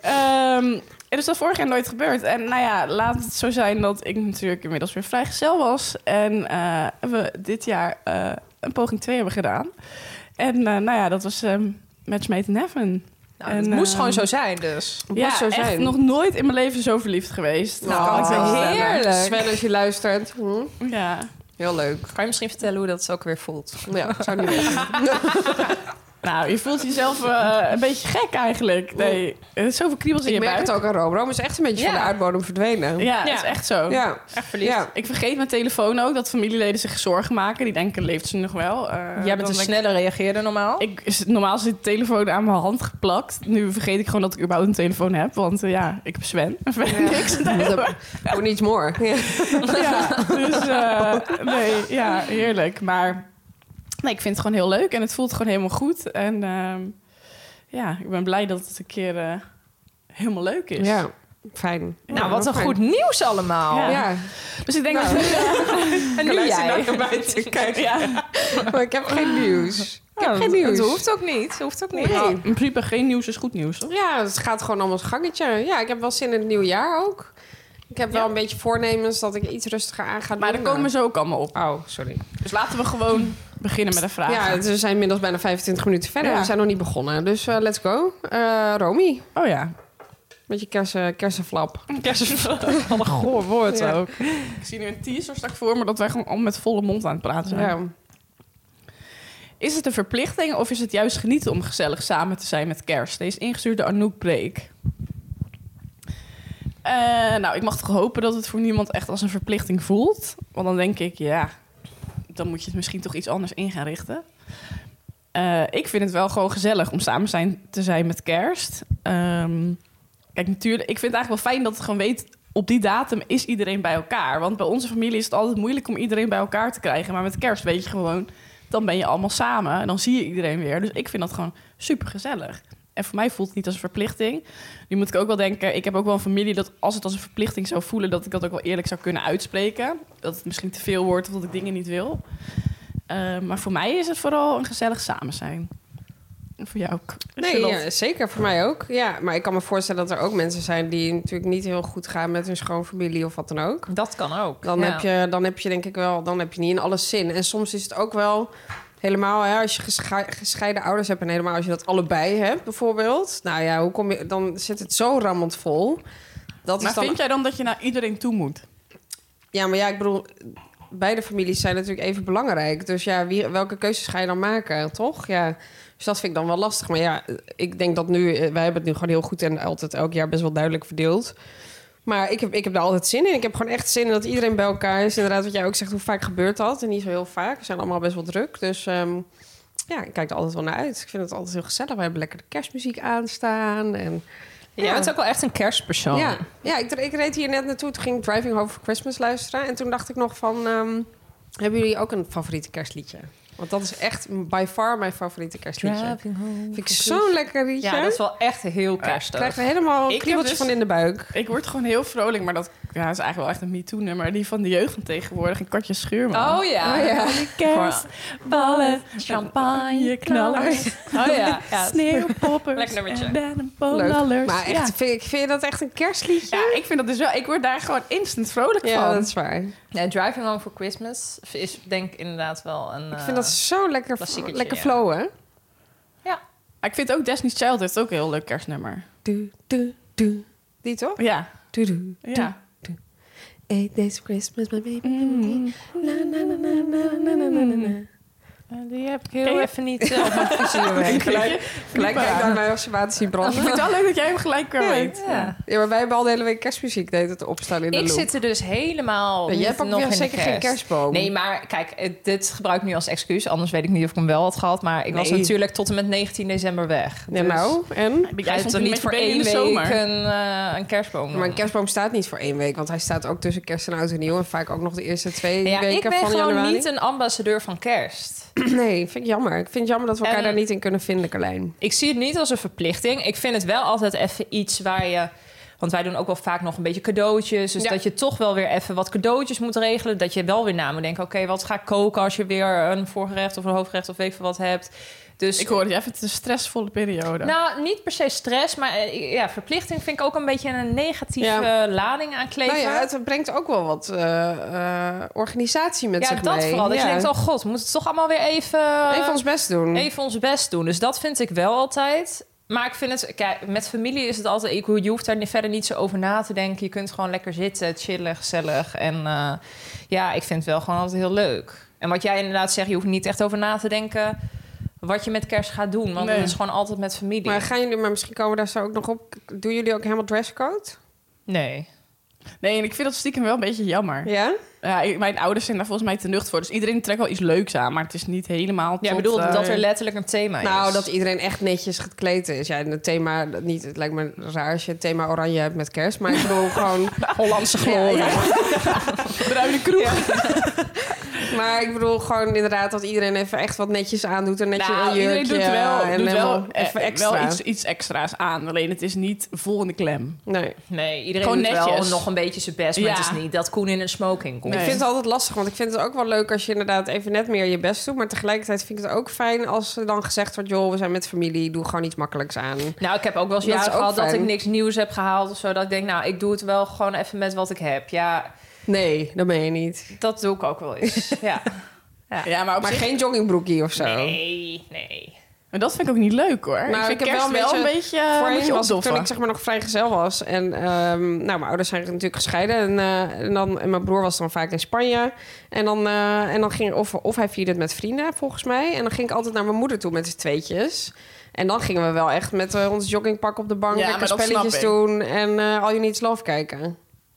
S5: Ehm en dus dat vorig jaar nooit gebeurd. En nou ja, laat het zo zijn dat ik natuurlijk inmiddels weer vrijgezel was. En eh, we dit jaar eh, een poging 2 hebben gedaan. En eh, nou ja, dat was ehm Match Made in Heaven.
S6: Nou,
S5: En,
S6: het moest
S5: ehm,
S6: gewoon zo zijn dus.
S5: ja,
S7: zo
S5: echt
S7: zijn.
S5: nog nooit in mijn leven zo verliefd geweest.
S7: Nou, kan ik wel vertellen.
S6: heerlijk.
S7: Sven, als je luistert. Hm,
S5: Ja.
S7: Heel leuk.
S6: Kan je misschien vertellen hoe dat ook weer voelt?
S7: Ja, ik zou niet weten.
S5: Nou, je voelt jezelf eh, een beetje gek eigenlijk. Nee, er is zoveel kriebels in
S7: Ik
S5: je
S7: merk
S5: buik.
S7: het ook aan Rome. Rome is echt een beetje
S6: Ja.
S7: van de aardbodem verdwenen.
S5: Ja, dat
S6: Ja.
S5: is echt zo.
S7: Ja.
S6: Echt
S7: Ja.
S5: Ik vergeet mijn telefoon ook dat familieleden zich zorgen maken. Die denken, leeft ze nog wel? Eh,
S6: Jij
S5: dan
S6: bent een
S5: denk
S6: sneller reageerder normaal.
S5: Ik, ik- normaal zit de telefoon aan mijn hand geplakt. Nu vergeet ik gewoon dat ik überhaupt een telefoon heb. Want eh, ja, ik heb Sven. En verder niks.
S7: Dat- Who needs more? Ja.
S5: Ja, dus eh, nee, ja, heerlijk. Maar nee, ik vind het gewoon heel leuk. En het voelt gewoon helemaal goed. En ehm, ja, ik ben blij dat het een keer eh, helemaal leuk is.
S7: Ja, fijn.
S6: nou,
S7: Ja,
S6: wat een
S7: fijn.
S6: goed nieuws allemaal.
S5: Ja.
S7: Ja,
S5: Dus ik denk
S7: Nou.
S5: dat we
S6: En nu
S7: luister
S6: jij.
S7: nou naar mij te kijken.
S5: ja,
S7: maar Oh, ik heb geen nieuws. Ik heb
S6: Nou,
S7: geen nieuws.
S6: Dat hoeft ook niet. Dat hoeft ook niet.
S7: Nee.
S5: in principe geen nieuws is goed nieuws, toch?
S7: Ja, het gaat gewoon allemaal zijn gangetje. Ja, ik heb wel zin in het nieuwe jaar ook. Ik heb wel een beetje voornemens dat ik iets rustiger aan ga
S5: Maar daar
S7: doen.
S5: komen ze ook allemaal op.
S7: Oh, sorry.
S5: Dus laten we gewoon beginnen met een vraag.
S7: Ja, we zijn inmiddels bijna 25 minuten verder.
S5: Ja.
S7: We zijn nog niet begonnen. Dus eh, let's go. Eh Romy,
S5: Oh ja.
S7: met je kersen, kersenflap.
S5: Kerstverslag. Wat een goor woord
S7: Ja.
S5: ook. Ik zie nu een teaser straks voor me dat wij gewoon al met volle mond aan het praten zijn.
S7: Ja.
S5: Is het een verplichting of is het juist genieten om gezellig samen te zijn met kerst? Deze is ingestuurd door Anouk Breek. Eh, nou, ik mag toch hopen dat het voor niemand echt als een verplichting voelt. Want dan denk ik, ja, dan moet je het misschien toch iets anders in gaan richten. Eh, ik vind het wel gewoon gezellig om samen zijn, te zijn met kerst. Ehm, kijk, natuurlijk, ik vind het eigenlijk wel fijn dat het gewoon weet... op die datum is iedereen bij elkaar. Want bij onze familie is het altijd moeilijk om iedereen bij elkaar te krijgen. Maar met kerst weet je gewoon, dan ben je allemaal samen. En dan zie je iedereen weer. Dus ik vind dat gewoon super gezellig. En voor mij voelt het niet als een verplichting. Nu moet ik ook wel denken, ik heb ook wel een familie dat als het als een verplichting zou voelen, dat ik dat ook wel eerlijk zou kunnen uitspreken. Dat het misschien te veel wordt of dat ik dingen niet wil. Eh, maar voor mij is het vooral een gezellig samen zijn. En voor jou ook.
S7: Nee,
S5: Charlotte.
S7: ja, zeker voor mij ook. Ja, maar ik kan me voorstellen dat er ook mensen zijn die natuurlijk niet heel goed gaan met hun schoonfamilie of wat dan ook.
S6: Oh, Dat kan ook.
S7: Dan,
S6: Ja.
S7: heb je, dan heb je denk ik wel, dan heb je niet in alles zin. En soms is het ook wel helemaal, hè, als je gesche- gescheiden ouders hebt en helemaal als je dat allebei hebt bijvoorbeeld. Nou ja, hoe kom je, dan zit het zo rammend vol. Dat
S5: Maar
S7: is dan,
S5: vind jij dan dat je naar iedereen toe moet?
S7: Ja, maar ja, ik bedoel, beide families zijn natuurlijk even belangrijk. Dus ja, wie, welke keuzes ga je dan maken, toch? Ja, dus dat vind ik dan wel lastig. Maar ja, ik denk dat nu, eh, wij hebben het nu gewoon heel goed en altijd elk jaar best wel duidelijk verdeeld. Maar ik heb, ik heb daar altijd zin in. Ik heb gewoon echt zin in dat iedereen bij elkaar is. Inderdaad, wat jij ook zegt, hoe vaak gebeurt dat? En niet zo heel vaak. We zijn allemaal best wel druk. Dus ehm, ja, ik kijk er altijd wel naar uit. Ik vind het altijd heel gezellig. We hebben lekker de kerstmuziek aanstaan. En
S6: Jij bent ook wel echt een kerstpersoon.
S7: ja, ja ik, ik reed hier net naartoe. Toen ging ik Driving Home for Christmas luisteren. En toen dacht ik nog van... ehm, hebben jullie ook een favoriete kerstliedje? Want dat is echt by far mijn favoriete kerstliedje. Vind ik zo'n lekker liedje.
S6: Ja, dat is wel echt heel
S7: Ik
S6: kerstig.
S7: krijg er helemaal een
S5: Ik heb
S7: kriebeltje
S5: dus-
S7: van in de buik.
S5: Ik word gewoon heel vrolijk, maar dat ja, is eigenlijk wel echt een MeToo-nummer. Die van de jeugd van tegenwoordig, een katje schuurman.
S6: Oh ja.
S7: Oh ja.
S6: Kerstballen, champagne, knallers. Oh ja. ja.
S5: Sneeuwpoppers.
S6: Lekker nummertje.
S5: En dan een
S7: Leuk.
S5: polallers.
S7: Maar echt,
S5: Ja.
S7: vind, ik, vind je dat echt een kerstliedje?
S5: Ja, ik vind dat dus wel. Ik word daar gewoon instant vrolijk
S7: Ja,
S5: van.
S7: dat is waar.
S6: Nee, Driving Home for Christmas is denk ik inderdaad wel een...
S7: ik vind dat zo lekker,
S6: Eh, klassiekertje,
S7: lekker
S6: ja.
S7: flow, hè?
S5: Maar ik vind ook Destiny's Child heeft ook een heel leuk kerstnummer.
S7: Du, du, du. Die toch?
S5: Ja.
S7: Du, du, du.
S5: Ja.
S7: Eight days of Christmas, my baby. Na, na, na, na, na, na, na, na, na.
S6: Die heb ik
S5: Ken
S6: heel
S5: je-
S6: even niet eh, op mijn vizier
S5: Ik
S6: werken.
S5: gelijk,
S7: Gelijk kijk naar mijn
S5: Ik
S7: observatiebrand.
S5: vind het wel leuk dat jij hem gelijk weer weet.
S6: Ja.
S7: Ja, maar wij hebben al de hele week kerstmuziek deed het opstaan in de
S6: Ik
S7: loop.
S6: zit er dus helemaal
S7: Ja,
S6: niet
S7: jij hebt ook
S6: nog
S7: weer
S6: in de
S7: zeker geen
S6: kerst.
S7: kerstboom.
S6: Nee, maar kijk, eh, dit gebruik ik nu als excuus. Anders weet ik niet of ik hem wel had gehad. Maar ik was
S7: Nee.
S6: natuurlijk tot en met 19 december weg. Dus
S7: Ja, nou, en?
S5: Ben
S6: Jij
S5: Jij
S6: hebt
S5: stond
S6: er
S5: er
S6: niet voor één
S5: in de
S6: week
S5: zomer.
S6: een, eh, een kerstboom.
S7: Maar een kerstboom staat niet voor één week, want hij staat ook tussen kerst en oud en nieuw en vaak ook nog de eerste twee
S6: ja,
S7: weken
S6: ik ben
S7: van
S6: gewoon
S7: januari.
S6: niet een ambassadeur van kerst.
S7: Nee, vind ik jammer. Ik vind het jammer dat we elkaar
S6: En-
S7: daar niet in kunnen vinden, Carlijn.
S6: Ik zie het niet als een verplichting. Ik vind het wel altijd even iets waar je... Want wij doen ook wel vaak nog een beetje cadeautjes. Dus
S7: Ja.
S6: dat je toch wel weer even wat cadeautjes moet regelen. Dat je wel weer na moet denken... oké, wat ga ik koken als je weer een voorgerecht of een hoofdgerecht... of weet ik veel wat hebt. Dus
S5: Ik hoorde je even het is een stressvolle periode.
S6: Nou, niet per se stress, maar eh, ja, verplichting vind ik ook een beetje een negatieve
S7: Ja.
S6: eh, lading aankleven.
S7: Nou ja, het brengt ook wel wat eh, eh, organisatie met
S6: Ja,
S7: zich
S6: dat
S7: mee.
S6: vooral. Dat
S7: Ja.
S6: je denkt, oh god, we moeten toch allemaal weer even, eh,
S7: Even ons best
S5: Mm.
S7: doen.
S6: even ons best doen. Dus dat vind ik wel altijd. Maar ik vind het, kijk, met familie is het altijd, ik- je hoeft daar verder niet zo over na te denken. Je kunt gewoon lekker zitten, chillen, gezellig. En eh, ja, ik vind het wel gewoon altijd heel leuk. En wat jij inderdaad zegt, je hoeft niet echt over na te denken wat je met kerst gaat doen. Want
S5: Nee.
S6: dat is gewoon altijd met familie.
S7: Maar gaan jullie, maar misschien komen we daar zo ook nog op. Doen jullie ook helemaal dresscode?
S6: Nee.
S5: Nee, en ik vind dat stiekem wel een beetje jammer.
S7: Ja?
S5: Ja, ik- mijn ouders zijn daar volgens mij te nucht voor. Dus iedereen trekt wel iets leuks aan, maar het is niet helemaal
S6: Ja, ik
S5: tot,
S6: bedoel
S5: eh,
S6: dat er letterlijk een thema
S5: Ah,
S6: is.
S7: Nou, dat iedereen echt netjes gekleed is. Ja, en het thema, dat niet, het lijkt me raar als je het thema oranje hebt met kerst. Maar ik bedoel gewoon Hollandse glorie.
S5: bruine kroeg.
S7: Maar ik bedoel gewoon inderdaad dat iedereen even echt wat netjes aandoet. En netjes
S5: Nou,
S7: een jurkje.
S5: iedereen doet wel,
S7: en
S5: doet wel,
S7: helemaal
S5: eh,
S7: even
S5: wel
S7: extra.
S5: iets, iets extra's aan. Alleen het is niet vol in de klem.
S7: Nee.
S6: Nee, iedereen
S5: Gewoon
S6: doet wel
S5: netjes.
S6: nog een beetje zijn best, maar
S5: Ja.
S6: het is niet dat Koen in een smoking komt.
S5: Nee.
S7: Ik vind het altijd lastig, want ik vind het ook wel leuk als je inderdaad even net meer je best doet. Maar tegelijkertijd vind ik het ook fijn als er dan gezegd wordt: joh, we zijn met familie, doe gewoon iets makkelijks aan.
S6: Nou, ik heb ook wel eens
S7: Dat is
S6: jaren
S7: ook
S6: gehad dat
S7: fijn.
S6: ik niks nieuws heb gehaald of zo. Dat ik denk, nou, ik doe het wel gewoon even met wat ik heb. Ja,
S7: Nee, dat ben je niet.
S6: dat doe ik ook wel eens. ja. Ja.
S5: Ja, maar op
S7: Maar
S5: zich...
S7: geen joggingbroekie of zo.
S6: Nee, nee.
S5: Maar dat vind ik ook niet leuk hoor.
S7: Nou,
S5: ik
S7: ik
S5: vind
S7: heb
S5: kerst
S7: wel een
S5: wel een
S7: beetje-
S5: beetje, eh, moet
S7: Voorheen
S5: je
S7: was ik, toen
S5: opdoffen.
S7: ik zeg maar nog vrijgezel was. En ehm, nou, mijn ouders zijn natuurlijk gescheiden. En, eh, en, dan, en mijn broer was dan vaak in Spanje. En dan, eh, en dan ging of, of hij vierde het met vrienden, volgens mij. En dan ging ik altijd naar mijn moeder toe met z'n tweetjes. En dan gingen we wel echt met eh, ons joggingpak op de bank...
S5: Ja,
S7: lekker
S5: maar dat snap
S7: spelletjes
S5: ik.
S7: doen en eh, al All You Need Is Love kijken.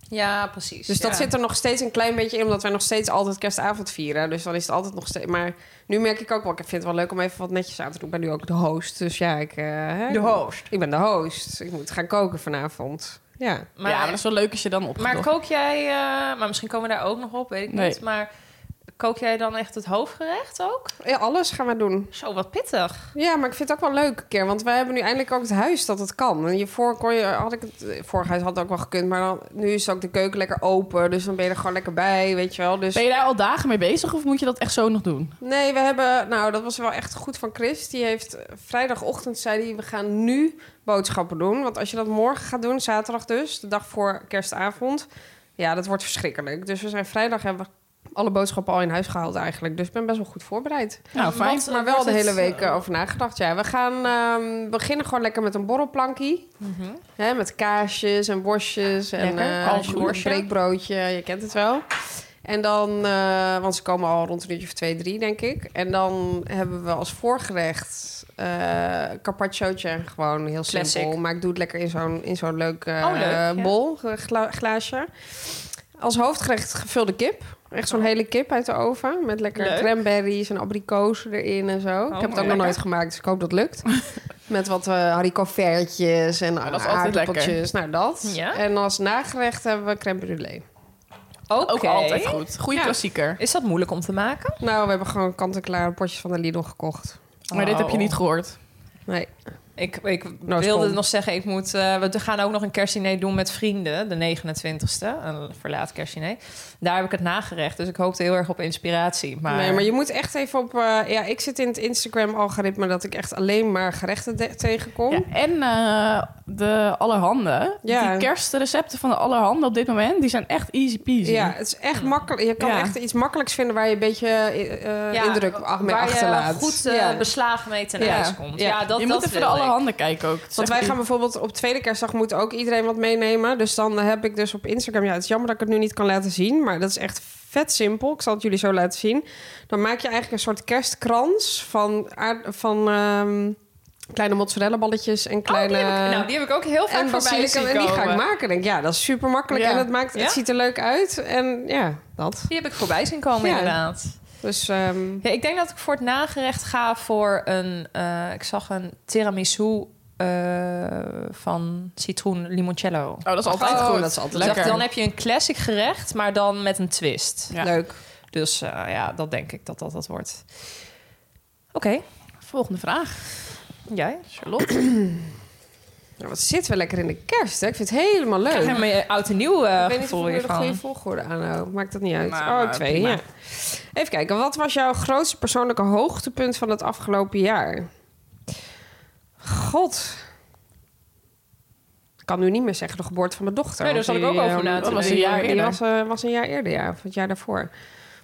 S6: Ja, precies.
S7: Dus dat
S6: ja.
S7: zit er nog steeds een klein beetje in... omdat wij nog steeds altijd kerstavond vieren. Dus dan is het altijd nog steeds... Maar nu merk ik ook wel, ik vind het wel leuk om even wat netjes aan te doen. Ik ben nu ook de host, dus ja, ik... eh, hè,
S6: de host.
S7: ik ben de host. Ik moet gaan koken vanavond. Ja.
S5: Maar, ja, maar dat is wel leuk als je dan
S6: eh, Maar
S5: opgedoft.
S6: kook jij, eh, maar misschien komen we daar ook nog op, weet ik
S5: Nee.
S6: niet. Maar Kook jij dan echt het hoofdgerecht ook?
S7: Ja, alles gaan we doen.
S6: Zo, wat pittig.
S7: Ja, maar ik vind het ook wel leuk een keer. Want wij hebben nu eindelijk ook het huis dat het kan. En hiervoor kon je, had ik het, eh, vorig huis had het ook wel gekund. Maar dan, nu is ook de keuken lekker open. Dus dan ben je er gewoon lekker bij, weet je wel. Dus
S5: Ben je daar al dagen mee bezig of moet je dat echt zo nog doen?
S7: Nee, we hebben... Nou, dat was wel echt goed van Chris. Die heeft eh, vrijdagochtend, zei hij, we gaan nu boodschappen doen. Want als je dat morgen gaat doen, zaterdag dus, de dag voor kerstavond... Ja, dat wordt verschrikkelijk. Dus we zijn vrijdag hebben we alle boodschappen al in huis gehaald eigenlijk. Dus ik ben best wel goed voorbereid.
S5: Nou, fijn.
S7: Want, maar wel de hele week eh, over nagedacht. Ja, we gaan ehm, beginnen gewoon lekker met een borrelplankie. Hè, met kaasjes en worstjes en
S5: Lekker.
S7: eh,
S5: Kalfsbroodje.
S7: een breekbroodje. Je kent het wel. En dan, eh, want ze komen al rond een uurtje of twee, drie, denk ik. En dan hebben we als voorgerecht eh carpacciootje. Gewoon heel simpel.
S6: Classic.
S7: Maar ik doe het lekker in zo'n, in zo'n leuk, eh,
S6: Oh, leuk, ja.
S7: bol, ge- gla- glaasje. Als hoofdgerecht gevulde kip. Echt zo'n hele kip uit de oven. Met lekker
S6: Oh. Leuk. Oh,
S7: cranberries en abrikozen erin en zo. ik heb het ook
S6: mooi.
S7: nog nooit gemaakt, dus ik hoop dat het lukt. Met wat eh haricovertjes en
S5: dat is altijd
S7: aardappeltjes. Nou, dat.
S6: Ja.
S7: En als nagerecht hebben we crème brûlée.
S6: Oké.
S5: Ook altijd goed. Goede
S6: Ja.
S5: klassieker.
S6: Is dat moeilijk om te maken?
S7: Nou, we hebben gewoon kant-en-klaar potjes van de Lidl gekocht.
S5: Maar dit heb je niet gehoord.
S7: Nee.
S6: Ik, ik
S7: Nou,
S6: wilde
S7: stom.
S6: nog zeggen, ik moet, eh, we gaan ook nog een kerstdiner doen met vrienden. De 29e, een verlaat kerstdiner. Daar heb ik het nagerecht, dus ik hoopte heel erg op inspiratie. Maar,
S7: Nee, maar je moet echt even op... eh, ja, ik zit in het Instagram-algoritme dat ik echt alleen maar gerechten de- tegenkom.
S5: Ja, en eh, de allerhande.
S7: Ja.
S5: Die kerstrecepten van de allerhande op dit moment, die zijn echt easy peasy.
S7: Ja, het is echt makkelijk. Je kan
S5: Ja.
S7: echt iets makkelijks vinden waar je een beetje eh, eh,
S6: Ja,
S7: indruk ach- mee
S6: waar
S7: achterlaat.
S6: je goed eh,
S7: Ja.
S6: beslagen mee ten
S7: Ja.
S6: huis komt.
S7: Ja.
S6: Ja, dat,
S5: je
S6: dat
S5: moet even de
S6: wil ik.
S5: allerhande kijken ook. Het is
S7: Want
S5: echt
S7: wij gaan bijvoorbeeld op tweede kerstdag moet ook iedereen wat meenemen. Dus dan heb ik dus op Instagram. Ja, het is jammer dat ik het nu niet kan laten zien. Maar dat is echt vet simpel. Ik zal het jullie zo laten zien. Dan maak je eigenlijk een soort kerstkrans van, aard- van ehm, kleine mozzarella balletjes en
S6: Oh,
S7: kleine.
S6: die heb ik, nou, die heb ik ook heel vaak
S7: en
S6: voorbij
S7: basilicum.
S6: zien
S7: En die ga ik
S6: komen.
S7: maken. Denk, ik, ja, dat is super makkelijk.
S5: Ja.
S7: En het, maakt,
S6: Ja?
S7: het ziet er leuk uit. En ja, dat.
S6: Die heb ik voorbij zien komen,
S7: Ja.
S6: inderdaad.
S7: Dus ehm,
S6: Ja, ik denk dat ik voor het nagerecht ga voor een... eh, ik zag een tiramisu eh, van citroen limoncello.
S5: Oh, dat is altijd
S7: Oh,
S5: goed.
S7: dat is altijd
S6: Dus
S5: lekker.
S6: echt, dan heb je een classic gerecht, maar dan met een twist.
S5: Ja.
S7: leuk.
S6: Dus eh, ja, dat denk ik dat dat dat wordt. Oké,
S5: Volgende vraag.
S6: jij?
S5: Charlotte.
S7: Nou, wat zitten we lekker in de kerst? Hè? Ik vind het helemaal leuk.
S6: Ik krijg helemaal je oud en nieuw eh,
S7: ik weet niet of
S6: gevoel
S7: ik nu de goede
S6: hiervan.
S7: volgorde aanhoud. Maakt dat niet uit.
S5: Maar,
S7: oh,
S5: maar,
S7: twee,
S5: prima.
S7: ja. Even kijken. Wat was jouw grootste persoonlijke hoogtepunt van het afgelopen jaar? God. Ik kan nu niet meer zeggen de geboorte van mijn dochter.
S6: Nee, daar
S7: want
S6: zat ik ook
S7: die,
S6: over
S7: eh,
S6: na te
S7: Dat was een
S5: denken.
S7: jaar
S5: Die
S7: eerder.
S5: was,
S7: was, een jaar eerder, ja. Of het jaar daarvoor.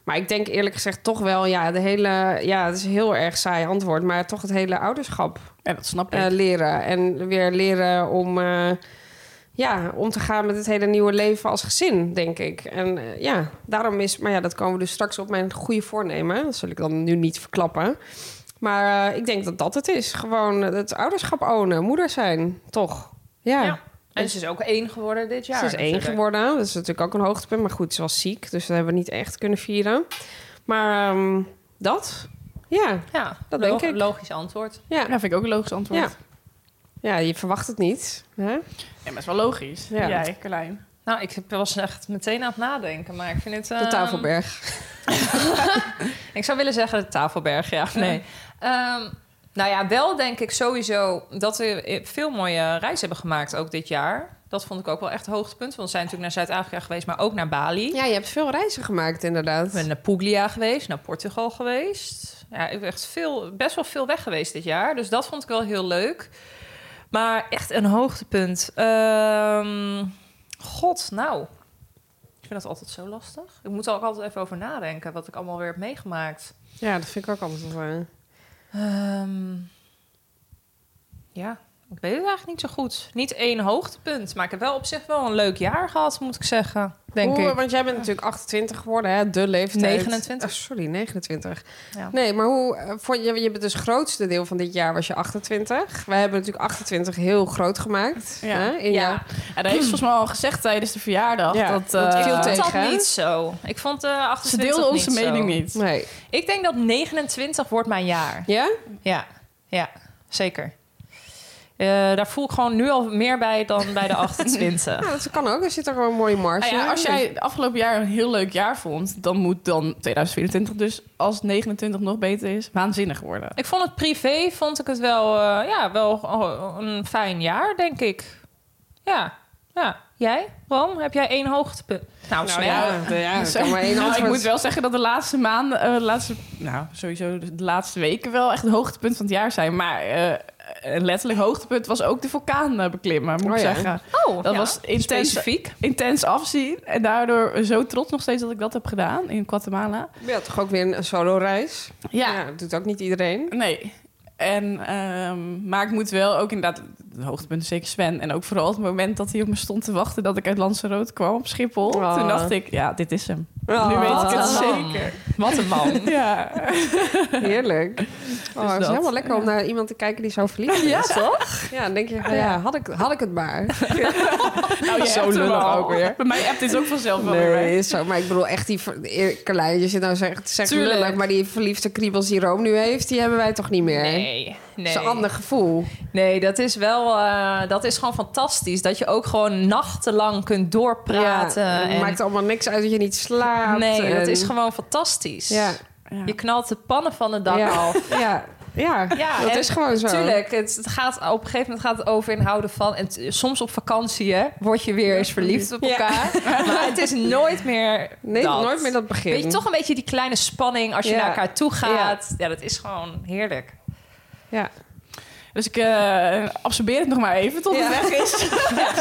S7: Maar ik denk eerlijk gezegd toch wel... Ja, de hele, ja het is een heel erg saai antwoord. Maar toch het hele ouderschap
S5: ja, dat snap ik.
S7: eh, leren. En weer leren om, eh, ja, om te gaan met het hele nieuwe leven als gezin, denk ik. En eh, ja, daarom is... Maar ja, dat komen we dus straks op mijn goede voornemen. Dat zal ik dan nu niet verklappen. Maar eh, ik denk dat dat het is. Gewoon het ouderschap ownen, moeder zijn, toch? Ja.
S6: Ja, En ze is ook één geworden dit jaar.
S7: Ze is één
S6: natuurlijk.
S7: geworden. Dat is natuurlijk ook een hoogtepunt. Maar goed, ze was ziek. Dus dat hebben we niet echt kunnen vieren. Maar ehm, dat, ja,
S6: Ja,
S7: Dat
S6: dat
S7: denk
S6: denk
S7: ik.
S6: Logisch antwoord.
S7: ja.
S5: ja, vind ik ook een logisch antwoord.
S7: Ja.
S5: Ja,
S7: Ja, je verwacht het niet. Hè?
S5: maar is wel logisch.
S7: Ja.
S5: Jij, Carlijn.
S6: Nou, ik heb- was echt meteen aan het nadenken, maar ik vind het...
S7: De
S6: ehm,
S7: tafelberg.
S6: Ik zou willen zeggen de Tafelberg, ja. Nee. Ehm, nou ja, wel denk ik sowieso dat we eh, veel mooie reizen hebben gemaakt ook dit jaar. Dat vond ik ook wel echt een hoogtepunt. Want we zijn natuurlijk naar Zuid-Afrika geweest, maar ook naar Bali.
S7: Ja, je hebt veel reizen gemaakt, inderdaad.
S6: Ik ben naar Puglia geweest, naar Portugal geweest. Ja, ik ben echt veel, best wel veel weg geweest dit jaar. Dus dat vond ik wel heel leuk. Maar echt een hoogtepunt. Ehm, God, nou. Ik vind dat altijd zo lastig. Ik moet er ook altijd even over nadenken wat ik allemaal weer heb meegemaakt.
S7: Ja, dat vind ik ook altijd wel. eh,
S6: Ehm, ja, ik weet het eigenlijk niet zo goed. Niet één hoogtepunt, maar ik heb wel op zich wel een leuk jaar gehad, moet ik zeggen. Denk
S7: Hoe-
S6: ik.
S7: Want jij bent natuurlijk 28 geworden, hè? De leeftijd.
S6: 29.
S7: Ah, sorry, 29.
S6: Ja.
S7: Nee, maar hoe... eh, Vond je, je bent dus grootste deel van dit jaar was je 28. Wij hebben natuurlijk 28 heel groot gemaakt.
S5: Ja.
S7: Hè? In
S6: Ja.
S7: jou-
S5: En dat heeft ze volgens mij al gezegd tijdens de verjaardag.
S7: Ja,
S5: dat,
S7: dat
S5: eh,
S7: viel
S6: Ik
S7: tegen.
S6: vond
S7: hè?
S6: dat niet zo. Ik vond de
S5: ze
S6: 28
S5: deelden onze
S6: niet zo.
S5: mening niet.
S7: Nee.
S6: Ik denk dat 29 wordt mijn jaar.
S7: Ja?
S6: Ja, ja zeker. Eh, daar voel ik gewoon nu al meer bij dan bij de 28.
S7: Ja, Nou, dat kan ook. Er zit er gewoon een mooie marge
S5: Nou ja,
S7: in.
S5: als jij het afgelopen jaar een heel leuk jaar vond, dan moet dan 2024 dus als 29 nog beter is, waanzinnig worden.
S6: Ik vond het privé vond ik het wel, eh, ja, wel oh, een fijn jaar, denk ik. Ja, ja. Jij, Bram, heb jij één hoogtepunt? Nou,
S7: Nou
S6: Smer.
S7: ja, ja, ja, dat kan maar één
S5: Nou, ik
S7: antwoord.
S5: moet wel zeggen dat de laatste maanden, eh, de laatste, nou sowieso de laatste weken wel echt het hoogtepunt van het jaar zijn. Maar eh, een letterlijk hoogtepunt was ook de vulkaan eh, beklimmen, moet
S7: Oh
S5: ik
S7: ja.
S5: zeggen.
S6: Oh,
S5: Dat
S6: ja.
S5: was intens,
S6: specifiek.
S5: intens afzien en daardoor zo trots nog steeds dat ik dat heb gedaan in Guatemala.
S7: Ja, toch ook weer een solo reis.
S5: Ja,
S7: dat doet ook niet iedereen.
S5: Nee. En, ehm, maar ik moet wel ook inderdaad, het hoogtepunt is zeker Sven. En ook vooral het moment dat hij op me stond te wachten dat ik uit Lanzarote kwam op Schiphol.
S7: Ah.
S5: Toen dacht ik, ja, dit is hem. nu
S7: Ah.
S5: weet ik het
S6: Wat een man.
S5: zeker.
S6: Wat een man.
S5: Ja,
S7: Heerlijk. Oh,
S6: Dus
S7: het is
S5: dat,
S7: helemaal lekker om naar iemand te kijken die zo verliefd is. Ja, toch? Ja, dan denk je, van, ja, had ik, had ik het maar.
S5: nou, je
S7: Zo
S5: hebt hem
S7: lullig
S5: al.
S7: ook weer.
S5: Bij mij appt dit ook vanzelf wel weer.
S7: Nee,
S5: weg.
S7: is zo. Maar ik bedoel echt die... ver- eer- Carlijn, je zit nou zegt, zegt
S6: Tuurlijk.
S7: lullig, maar die verliefde kriebels die Rome nu heeft, die hebben wij toch niet meer?
S6: Nee,
S7: Dat is
S6: nee.
S7: een ander gevoel.
S6: Nee, dat is wel, eh, dat is gewoon fantastisch. Dat je ook gewoon nachtenlang kunt doorpraten.
S7: Ja,
S6: en-
S7: maakt allemaal niks uit dat je niet slaapt.
S6: nee, dat
S7: en-
S6: is gewoon fantastisch.
S7: Ja,
S6: Je knalt de pannen van de dak
S7: ja,
S6: af.
S7: ja, ja,
S6: Ja,
S7: dat
S6: en
S7: is gewoon zo.
S6: Tuurlijk, het, het gaat, op een gegeven moment gaat het over inhouden van... En t- soms op vakantie, hè, word je weer eens verliefd op
S7: Ja.
S6: elkaar. Maar het is nooit meer
S7: Nee,
S6: dat.
S7: nooit meer dat begin.
S6: Weet je, toch een beetje die kleine spanning als je
S7: Ja.
S6: naar elkaar toe gaat. Ja. dat is gewoon heerlijk.
S7: Ja.
S5: Dus ik eh, absorbeer het nog maar even tot
S7: Ja.
S5: het weg is.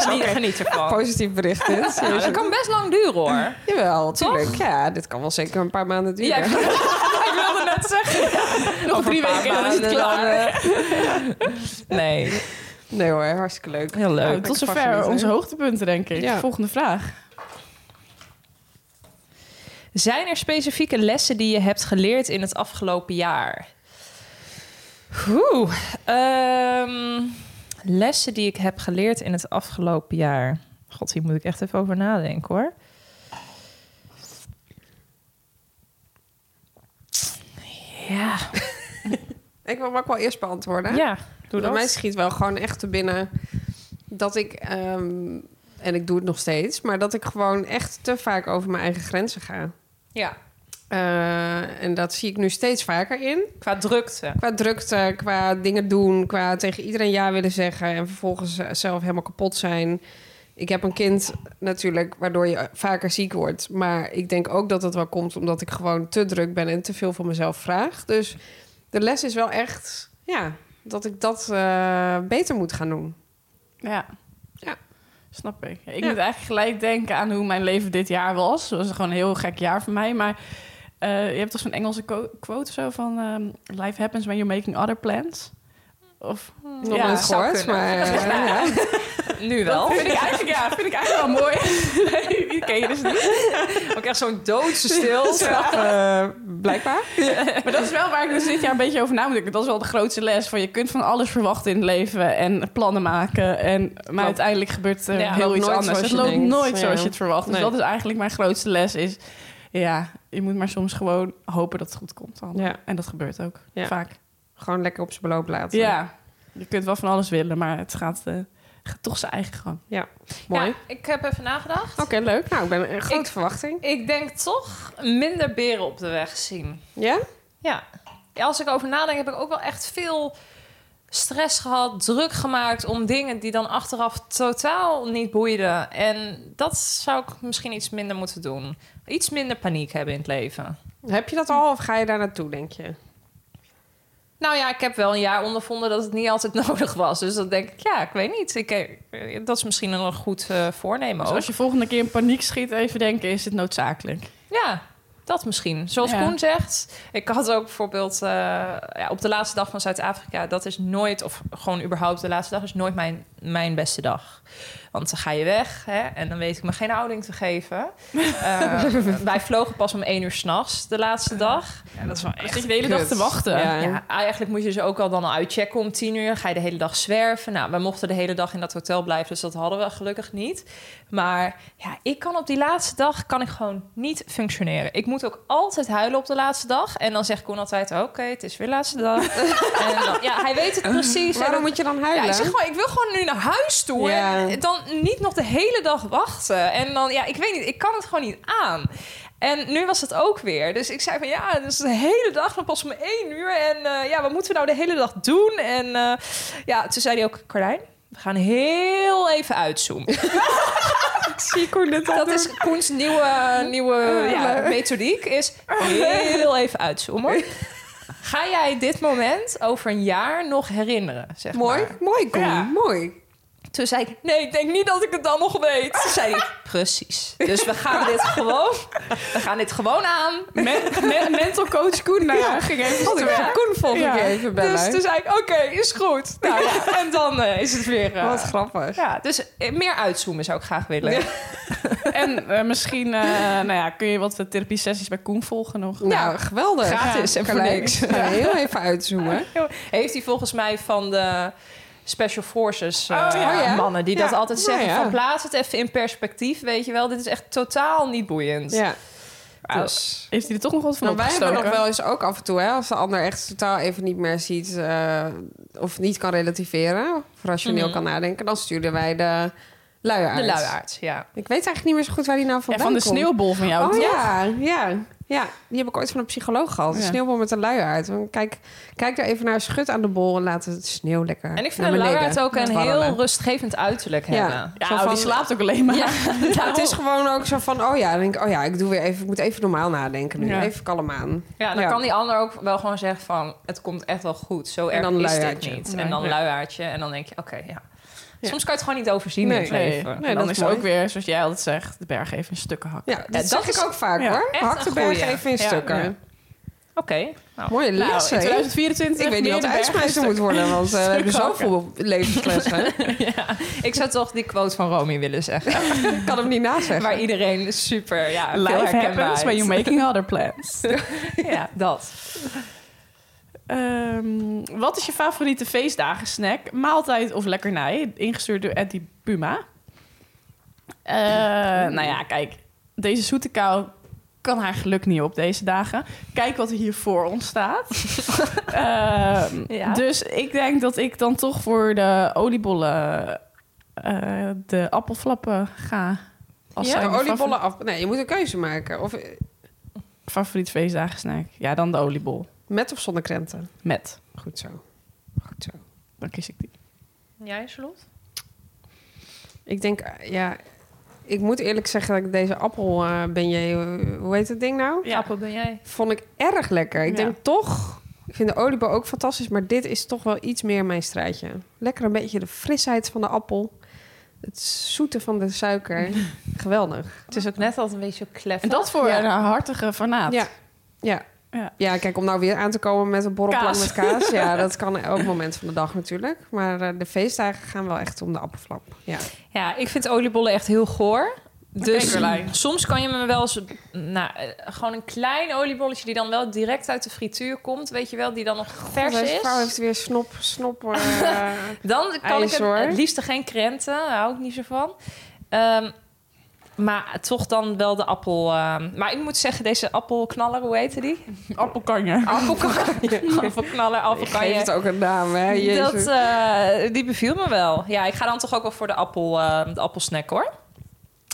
S6: geniet, geniet ervan.
S7: Positief bericht is.
S6: Ja, dat kan best lang duren, hoor.
S7: Jawel,
S6: Toch?
S7: tuurlijk. Ja, dit kan wel zeker een paar maanden duren.
S6: Ja, ik, ik wilde net zeggen.
S5: Nog drie weken en dan is het klaar.
S7: eh.
S6: Nee,
S7: Nee hoor, hartstikke leuk.
S6: heel leuk.
S5: Nou, tot
S7: Lekker
S5: zover
S7: vastgenieten.
S5: onze hoogtepunten, denk ik.
S7: Ja.
S5: Volgende vraag.
S6: Zijn er specifieke lessen die je hebt geleerd in het afgelopen jaar? Oeh, ehm, lessen die ik heb geleerd in het afgelopen jaar. God, hier moet ik echt even over nadenken hoor. Ja,
S7: Ik wil ook wel eerst beantwoorden.
S6: ja doe
S7: Bij
S6: dat.
S7: mij schiet wel gewoon echt te binnen dat ik, ehm, en ik doe het nog steeds, maar dat ik gewoon echt te vaak over mijn eigen grenzen ga.
S6: Ja,
S7: Eh, en dat zie ik nu steeds vaker in.
S6: qua drukte.
S7: Qua drukte, qua dingen doen, qua tegen iedereen ja willen zeggen en vervolgens eh, zelf helemaal kapot zijn. Ik heb een kind natuurlijk, waardoor je eh, vaker ziek wordt. Maar ik denk ook dat dat wel komt omdat ik gewoon te druk ben en te veel van mezelf vraag. Dus de les is wel echt, ja, dat ik dat eh, beter moet gaan doen.
S5: Ja.
S7: Ja.
S5: Snap ik. Ik
S7: Ja.
S5: moet eigenlijk gelijk denken aan hoe mijn leven dit jaar was. Het was gewoon een heel gek jaar voor mij. Maar eh, je hebt toch zo'n Engelse co- quote of zo van... ehm, Life happens when you're making other plans. Of,
S7: Nog
S5: Ja,
S7: nooit
S5: zou
S7: gehoord,
S5: kunnen.
S7: maar eh, ja.
S6: Nu wel.
S5: Vind ik eigenlijk, ja, vind ik eigenlijk wel mooi. Nee, die ken je dus niet.
S6: Ook echt zo'n doodse stilte.
S7: Eh, blijkbaar.
S5: Maar dat is wel waar ik dus dit jaar een beetje over na moet denken. Dat is wel de grootste les. Van je kunt van alles verwachten in het leven en plannen maken. En, maar uiteindelijk gebeurt er
S6: Ja, het
S5: heel
S7: loopt
S5: iets
S7: nooit
S5: anders.
S7: zoals
S5: Het
S7: je
S5: loopt
S7: denkt.
S5: nooit
S7: Ja.
S5: zoals je het verwacht. Dus
S7: Nee.
S5: dat is eigenlijk mijn grootste les. Is, ja, je moet maar soms gewoon hopen dat het goed komt. Dan.
S7: Ja.
S5: En dat gebeurt ook
S7: Ja.
S5: vaak.
S7: Gewoon lekker op zijn beloop laten.
S5: Ja, je kunt wel van alles willen, maar het gaat, eh, gaat toch zijn eigen gang.
S7: Mooi.
S6: Ja, ik heb even nagedacht.
S7: Oké, leuk. Nou, ik ben een grote
S6: Ik-
S7: verwachting.
S6: Ik denk toch minder beren op de weg zien.
S7: Ja?
S6: Ja. Ja, als ik over nadenk, heb ik ook wel echt veel stress gehad, druk gemaakt om dingen die dan achteraf totaal niet boeiden. En dat zou ik misschien iets minder moeten doen. Iets minder paniek hebben in het leven.
S7: Heb je dat al of ga je daar naartoe, denk je?
S6: Nou ja, ik heb wel een jaar ondervonden dat het niet altijd nodig was. Dus dan denk ik, ja, ik weet niet. Ik, eh, dat is misschien een goed eh, voornemen
S5: Dus
S6: ook.
S5: als je volgende keer in paniek schiet, even denken, is het noodzakelijk?
S6: Ja, dat misschien. Zoals
S5: Ja.
S6: Koen zegt. Ik had ook bijvoorbeeld eh, ja, op de laatste dag van Zuid-Afrika. Dat is nooit, of gewoon überhaupt de laatste dag, is nooit mijn mijn beste dag. Want dan ga je weg hè, en dan weet ik me geen houding te geven. Eh, wij vlogen pas om één uur s'nachts de laatste dag.
S5: Ja, dat is wel echt. Dan zit je de hele dag
S7: kut.
S5: te wachten.
S7: Ja.
S6: Ja, eigenlijk moet je ze ook al dan al uitchecken om tien uur. Ga je de hele dag zwerven. Nou, we mochten de hele dag in dat hotel blijven, dus dat hadden we gelukkig niet. Maar ja, ik kan op die laatste dag kan ik gewoon niet functioneren. Ik moet ook altijd huilen op de laatste dag. En dan zegt Koen altijd, oké, het is weer laatste dag. en dan, ja, hij weet het precies. En
S7: Waarom
S6: dan-
S7: moet je dan
S6: ja,
S7: huilen?
S6: ik zeg gewoon, ik wil gewoon nu naar huis toe.
S7: Ja.
S6: En dan niet nog de hele dag wachten. En dan, ja, ik weet niet, ik kan het gewoon niet aan. En nu was het ook weer. Dus ik zei van, ja, dus de hele dag, dan pas om één uur. En eh, ja, wat moeten we nou de hele dag doen? En eh, ja, toen zei hij ook, Carlijn, we gaan heel even uitzoomen.
S7: ik zie Koen dit al
S6: Dat
S7: doen.
S6: is Koens nieuwe, nieuwe ja, methodiek, is heel even uitzoomen. Ga jij dit moment over een jaar nog herinneren? Zeg
S7: mooi.
S6: maar.
S7: Mooi, Koen.
S6: Ja.
S7: Mooi.
S6: Toen zei ik, nee, ik denk niet dat ik het dan nog weet. Toen zei ik, precies. Dus we gaan dit gewoon, we gaan dit gewoon aan.
S5: Men- men- mental coach Koen daar ging even
S7: Had ik
S5: stoer.
S7: Koen volgende
S5: Ja.
S7: keer even bellen.
S6: Dus toen zei ik, oké, is goed. Nou, ja, en dan eh, is het weer... eh,
S7: Wat grappig.
S6: ja, dus eh, meer uitzoomen zou ik graag willen. Ja,
S5: En eh, misschien eh, nou ja, kun je wat eh, therapie-sessies bij Koen volgen nog.
S7: Nou, geweldig.
S6: Gratis en voor
S7: Carlijn.
S6: niks.
S7: Ja, heel even uitzoomen.
S6: Heeft hij volgens mij van de Special Forces eh,
S5: Oh, ja.
S7: Oh, ja?
S6: mannen... die
S5: Ja.
S6: dat altijd
S7: Nou,
S6: zeggen
S7: ja.
S6: van plaats het even in perspectief, weet je wel. Dit is echt totaal niet boeiend.
S7: Ja.
S6: Dus...
S5: Heeft hij er toch nog wat van
S7: Nou, wij hebben nog
S5: opgestoken?
S7: wel eens ook af en toe, hè, als de ander echt totaal even niet meer ziet eh, of niet kan relativeren, of rationeel kan nadenken, dan sturen wij Mhm. de luiaard.
S6: De luiaard, ja.
S7: Ik weet eigenlijk niet meer zo goed waar die nou
S5: Ja,
S7: vandaan
S5: van de
S7: komt.
S5: sneeuwbol van jou.
S7: Oh
S5: toch?
S7: ja, ja, ja. Die heb ik ooit van een psycholoog gehad. Een
S5: Ja.
S7: sneeuwbol met een luiaard. Dan Kijk, kijk daar even naar, schud aan de bol en laat het sneeuw lekker
S6: En ik vind
S7: naar
S6: een
S7: beneden
S6: luiaard ook een
S7: dwarrelen.
S6: heel rustgevend uiterlijk
S7: Ja.
S6: hebben.
S5: Ja,
S7: Zo
S5: oh,
S7: van-
S5: die slaapt ook alleen maar.
S6: Ja,
S7: Ja, het is gewoon ook zo van, oh ja, dan denk ik, oh ja, ik doe weer even, ik moet even normaal nadenken nu.
S5: Ja.
S7: Even kalm aan.
S6: Ja, dan
S7: Ja.
S6: kan die ander ook wel gewoon zeggen van... het komt echt wel goed, zo
S7: En
S6: erg
S7: dan
S6: is dit
S7: luiaartje.
S6: niet.
S5: Nee,
S6: En dan
S5: ja.
S6: luiaartje en dan denk je, oké, ja.
S7: Ja.
S6: Soms kan je het gewoon niet overzien in
S7: Nee,
S6: het
S5: Nee,
S6: leven.
S5: nee,
S6: En
S5: dan,
S6: dat
S5: is
S6: mooi.
S5: ook weer, zoals jij altijd zegt, de berg even in stukken hakken.
S7: Ja, dat, zeg
S6: dat is-
S7: ik ook vaak
S5: ja,
S7: hoor.
S6: echt
S7: Hak de
S6: een
S7: berg
S6: goeie.
S7: even in
S5: Ja,
S7: stukken.
S5: ja.
S6: Oké, nou,
S7: Mooie
S5: Nou, in
S7: les, hè?
S5: 2024
S7: Ik weet niet
S5: meer
S7: wat de
S5: de berg in
S7: uitsmijter moet worden, want eh, we hebben
S5: Stukken
S7: zoveel levenslessen.
S6: ja. Ik zou toch die quote van Romy willen zeggen.
S7: Ik kan hem niet nazeggen.
S6: Waar iedereen super, ja, veel
S5: Life happens
S6: herkenbaarheid.
S5: when you're making other plans.
S6: Ja, dat.
S5: Ehm, wat is je favoriete feestdagensnack, maaltijd of lekkernij? Ingestuurd door Eddie Puma. Eh, nou ja, kijk. Deze zoete kou kan haar geluk niet op deze dagen. Kijk wat er hier voor ons staat. Ehm,
S6: Ja.
S5: Dus ik denk dat ik dan toch voor de oliebollen... eh, de appelflappen ga. Als
S7: Ja,
S5: zijn
S7: de
S5: mijn
S7: oliebollen af. Nee, je moet een keuze maken. Of eh,
S5: favori- favoriet feestdagensnack. Ja, dan de oliebol.
S7: met of zonder krenten.
S5: Met.
S7: Goed zo. Goed zo.
S5: Dan kies ik die.
S6: Jij, Charlotte?
S7: Ik denk, eh, ja, ik moet eerlijk zeggen dat ik deze appel eh beignet, eh, hoe heet het ding nou?
S6: Ja. Appel ben jij.
S7: Vond ik erg lekker. Ik
S5: Ja.
S7: denk toch, ik vind de oliebol ook fantastisch, maar dit is toch wel iets meer mijn straatje. Lekker een beetje de frisheid van de appel. Het zoete van de suiker. Geweldig.
S6: Het is ook net altijd een beetje klef.
S5: En dat voor
S7: Ja.
S5: een hartige fanaat.
S7: Ja. Ja.
S5: Ja.
S7: Ja, kijk, om nou weer aan te komen met een borrelplan
S5: Kaas.
S7: met kaas. Ja, dat kan elk moment van de dag natuurlijk. Maar eh, de feestdagen gaan wel echt om de appelflap. Ja.
S6: Ja, ik vind oliebollen echt heel goor. Dus
S5: Oké, Carlijn.
S6: soms kan je me wel eens... Nou, eh, gewoon een klein oliebolletje die dan wel direct uit de frituur komt. Weet je wel, die dan nog vers
S7: Deze
S6: is.
S7: vrouw heeft weer snop, snop. eh,
S6: Dan kan
S7: ijs,
S6: ik
S7: hoor.
S6: het, het liefste geen krenten. Daar hou ik niet zo van. Ehm, maar toch dan wel de appel. ehm, maar ik moet zeggen, deze appelknaller, hoe heette die?
S5: Appelkanje.
S6: Appelknaller, appelknaller,
S7: geef het
S6: appelkanje.
S7: ook een naam, hè? Jezus.
S6: Dat, eh, die beviel me wel. Ja, ik ga dan toch ook wel voor de, appel, eh, de appelsnack hoor.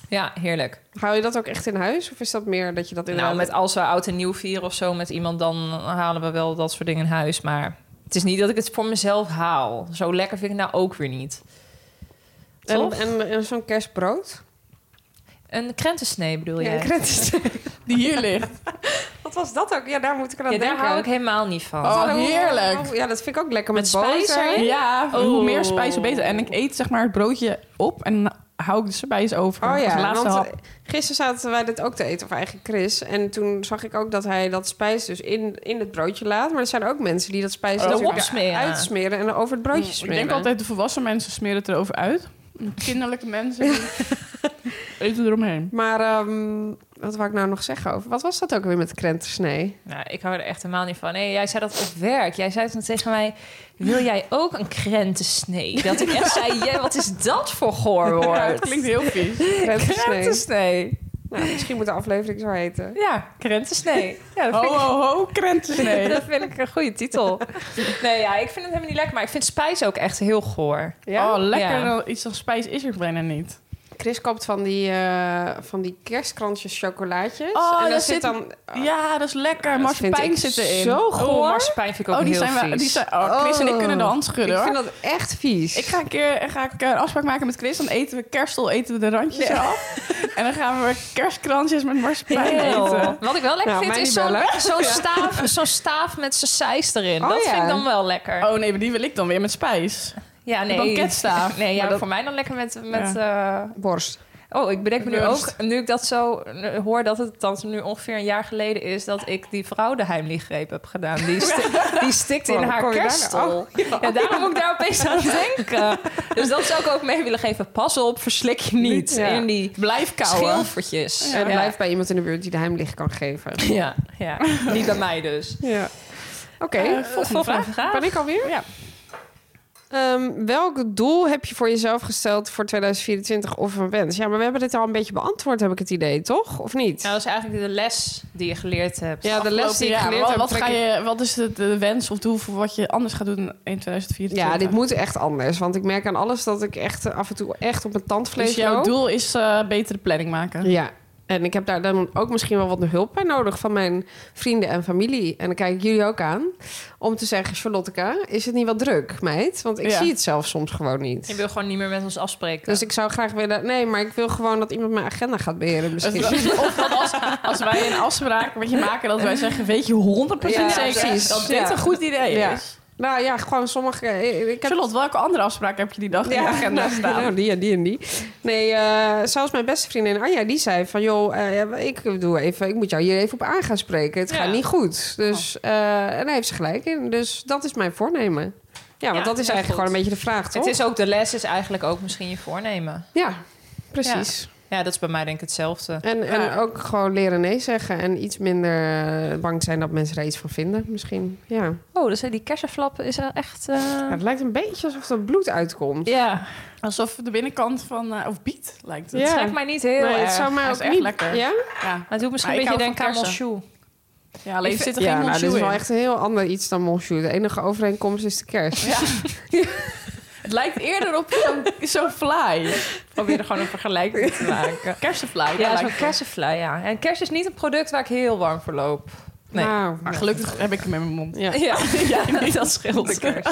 S6: Ja, heerlijk.
S7: Hou je dat ook echt in huis? Of is dat meer dat je dat in
S6: Nou, met als we oud en nieuw vieren of zo met iemand, dan halen we wel dat soort dingen in huis. Maar het is niet dat ik het voor mezelf haal. Zo lekker vind ik nou ook weer niet.
S7: en,
S6: Toch?
S7: en, en zo'n kerstbrood?
S6: Een krentensnee bedoel
S7: Ja,
S6: jij?
S7: een krent-
S5: Die hier ligt.
S7: dus- Wat was dat ook? Ja, daar moet ik aan
S6: Ja, daar
S7: denken.
S6: hou ik helemaal niet van.
S5: Oh,
S7: Hoe-
S5: heerlijk.
S7: hoe- Ja, dat vind ik ook lekker met,
S6: Met
S7: boter.
S6: spijs erin?
S5: Ja,
S6: Oh.
S5: hoe meer spijs, hoe beter. En ik eet zeg maar het broodje op en hou ik dus erbij eens over.
S7: Oh
S5: Als
S7: ja,
S5: laatste
S7: want
S5: hap.
S7: eh, gisteren zaten wij dit ook te eten, of eigenlijk Chris. En toen zag ik ook dat hij dat spijs dus in, in het broodje laat. Maar er zijn ook mensen die dat spijs
S6: Erop
S7: natuurlijk
S6: smeren.
S7: uitsmeren en over het
S6: Mm,
S7: broodje
S5: Ik
S7: smeren.
S5: denk altijd de volwassen mensen smeren het erover uit. Kinderlijke mensen die eten eromheen.
S7: Maar ehm, wat wou ik nou nog zeggen over? Wat was dat ook weer met krentersnee?
S6: Nou, ik hou er echt helemaal niet van. Nee, jij zei dat op werk. Jij zei toen tegen mij, wil jij ook een krentensnee? Dat ik echt zei, "Jij, wat is dat voor
S5: Dat
S6: goorwoord?
S5: klinkt heel vies.
S7: Krentensnee.
S6: Krentensnee.
S7: Nou, misschien moet de aflevering zo heten.
S6: Ja, krentensnee. Ja, dat
S5: Ho,
S6: vind ik...
S5: ho, ho, krentensnee.
S6: Dat vind ik een goede titel. Nee, ja, ik vind het helemaal niet lekker. Maar ik vind spijs ook echt heel goor.
S7: Ja?
S5: Oh, lekker.
S6: Ja.
S5: dan Iets als spijs is er bijna niet.
S7: Chris koopt van die, eh, van die kerstkransjes chocolaatjes.
S5: Oh,
S7: en daar
S5: daar
S7: zit
S5: zit-
S7: dan...
S5: Ah. Ja, dat is lekker.
S7: Dat vind
S5: Marsepein
S7: ik
S5: zit erin.
S7: Zo
S6: Oh,
S7: goor.
S6: marsepein vind ik ook
S5: Oh, die
S6: heel
S5: zijn we.
S6: vies.
S5: Die zijn, oh, Chris en ik kunnen de hand schudden
S7: Ik
S5: hoor.
S7: vind dat echt vies.
S5: Ik ga een keer ga ik eh, een afspraak maken met Chris. Dan eten we kerstel, eten we de randjes af. En dan gaan we kerstkransjes met marsepein
S6: Heel.
S5: eten.
S6: Wat ik wel lekker
S7: Nou,
S6: vind
S7: mij
S6: is
S7: niet
S6: zo'n
S7: bellen.
S6: zo'n staaf, zo'n staaf met zijn sijs erin.
S7: Oh,
S6: dat
S7: ja.
S6: vind ik dan wel lekker.
S5: Oh nee, maar die wil ik dan weer met spijs.
S6: ja, nee.
S5: banketstaaf.
S6: Nee, ja,
S5: Maar dat-
S6: voor mij dan lekker met... met eh,
S7: Borst.
S6: oh, ik bedenk me nu
S5: Worst.
S6: ook, nu ik dat zo eh, hoor... dat het dan nu ongeveer een jaar geleden is... dat ik die vrouw de heimliegreep heb gedaan. Die, sti- die stikt in
S7: Oh,
S6: haar
S7: kom je daar
S6: kerstel.
S7: nou-
S6: ja, daarom moet ik daar opeens aan denken. Dus dat zou ik ook mee willen geven. Pas op, verslik je niet
S7: Ja.
S6: in die
S5: Blijf kouwen.
S6: schilfertjes.
S7: En blijf bij iemand in de buurt die de heimlicht kan geven.
S6: Ja, ja. Niet bij mij dus.
S7: Ja. Oké,
S5: Eh,
S7: volgende,
S6: volgende
S7: vraag.
S6: vraag.
S7: Ben ik alweer?
S5: Ja.
S7: Ehm, welk doel heb je voor jezelf gesteld voor 2024 of een wens? Ja, maar we hebben dit al een beetje beantwoord, heb ik het idee, toch? Of niet?
S6: Nou, dat is eigenlijk de les die je geleerd hebt.
S7: Ja, de les die ik
S5: Ja,
S7: geleerd
S5: wat,
S7: heb.
S5: wat,
S7: trek
S5: ga
S7: ik-
S5: je, wat is de, de wens of doel voor wat je anders gaat doen in 2024?
S7: Ja, dit moet echt anders. Want ik merk aan alles dat ik echt eh, af en toe echt op mijn tandvlees
S5: Dus jouw
S7: loop.
S5: doel is eh, betere planning maken.
S7: Ja. En ik heb daar dan ook misschien wel wat hulp bij nodig van mijn vrienden en familie. En dan kijk ik jullie ook aan. Om te zeggen, Charlotteka, is het niet wel druk, meid? Want ik
S5: Ja.
S7: zie het zelf soms gewoon niet.
S6: Je wil gewoon niet meer met ons afspreken.
S7: Dus ik zou graag willen... Nee, maar ik wil gewoon dat iemand mijn agenda gaat beheren misschien.
S5: Of Dus dat als, als wij een afspraak met je maken, dat wij zeggen: Weet je 100%
S7: Ja,
S5: zeker
S7: precies.
S5: dat dit
S7: Ja.
S5: een goed idee
S7: Ja.
S5: is?
S7: nou ja, gewoon sommige... Ik heb
S5: Charlotte, welke andere afspraak heb je die dag in je agenda
S7: nou,
S5: staan?
S7: nou, die en die en die. Nee, eh, zelfs mijn beste vriendin Anja, die zei van... joh, eh, ik, doe even, ik moet jou hier even op aan gaan spreken. Het
S6: Ja. Oh.
S7: gaat niet goed. Dus, eh, en daar heeft ze gelijk in. Dus dat is mijn voornemen. Ja, want
S6: Ja,
S7: dat is
S6: heel
S7: eigenlijk
S6: goed.
S7: gewoon een beetje de vraag, toch?
S6: het is ook de les is eigenlijk ook misschien je voornemen.
S7: Ja, precies.
S6: Ja, dat is bij mij denk ik hetzelfde.
S7: En, en ook gewoon leren nee zeggen. En iets minder eh, bang zijn dat mensen er iets van vinden, misschien. Ja,
S6: Oh, dus die kersenflap is wel echt... eh,
S7: Ja, het lijkt een beetje alsof er bloed uitkomt.
S5: Ja, alsof de binnenkant van, eh, of biet lijkt het.
S7: Ja.
S6: Het trekt mij niet heel
S7: Nee,
S6: erg.
S7: het zou mij
S5: Hij is
S7: ook
S5: echt
S7: niet...
S5: lekker.
S7: Ja?
S5: Ja,
S6: Maar het doet misschien
S5: Maar
S6: een
S5: ik
S6: beetje
S5: hou
S6: denken aan
S5: van
S6: Monchou.
S5: ja alleen
S6: Ik
S5: zit er
S7: ja,
S5: geen
S7: nou, dit is
S5: monjoe
S7: wel
S5: in.
S7: echt een heel ander iets dan monsieur. De enige overeenkomst is de kerst.
S5: Het lijkt eerder op zo'n zo'n fly.
S6: Probeer er gewoon een vergelijking te maken.
S5: Kersenfly, daar
S6: Ja,
S5: lijkt
S6: zo'n
S5: het
S6: kersenfly, ja. En kers is niet een product waar ik heel warm voor loop. Nee.
S7: Nou,
S5: op. Maar gelukkig heb ik hem in mijn mond.
S7: Ja.
S6: Ja, dat scheelt. De kers.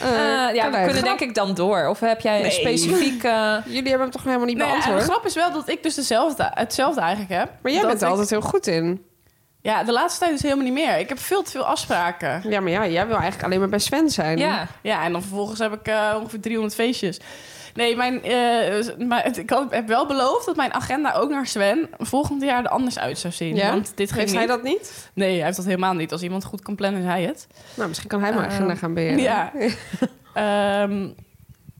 S7: Eh,
S6: Eh, ja, we
S7: Carlijn,
S6: kunnen denk ik dan door. Of heb jij een
S5: Nee.
S6: specifiek... eh,
S7: Jullie hebben hem toch helemaal niet
S5: Nee, en eh, de
S7: beantwoord?
S5: grap is wel dat ik dus dezelfde, hetzelfde eigenlijk heb.
S7: maar jij
S5: Dat
S7: bent er
S5: ik-
S7: altijd heel goed in.
S5: Ja, de laatste tijd dus helemaal niet meer. Ik heb veel te veel afspraken.
S7: Ja, maar ja, jij wil eigenlijk alleen maar bij Sven zijn.
S6: ja,
S5: Ja, en dan vervolgens heb ik eh, ongeveer 300 feestjes. Nee, mijn, eh, maar het- ik had- heb wel beloofd dat mijn agenda ook naar Sven volgend jaar er anders uit zou zien.
S7: Ja?
S5: Want dit ging
S7: Heeft
S5: niet.
S7: hij dat niet?
S5: Nee, hij heeft dat helemaal niet. Als iemand goed kan plannen, is hij het.
S7: Nou, misschien kan hij mijn
S5: Eh,
S7: agenda gaan beheren.
S5: Ja. Ehm,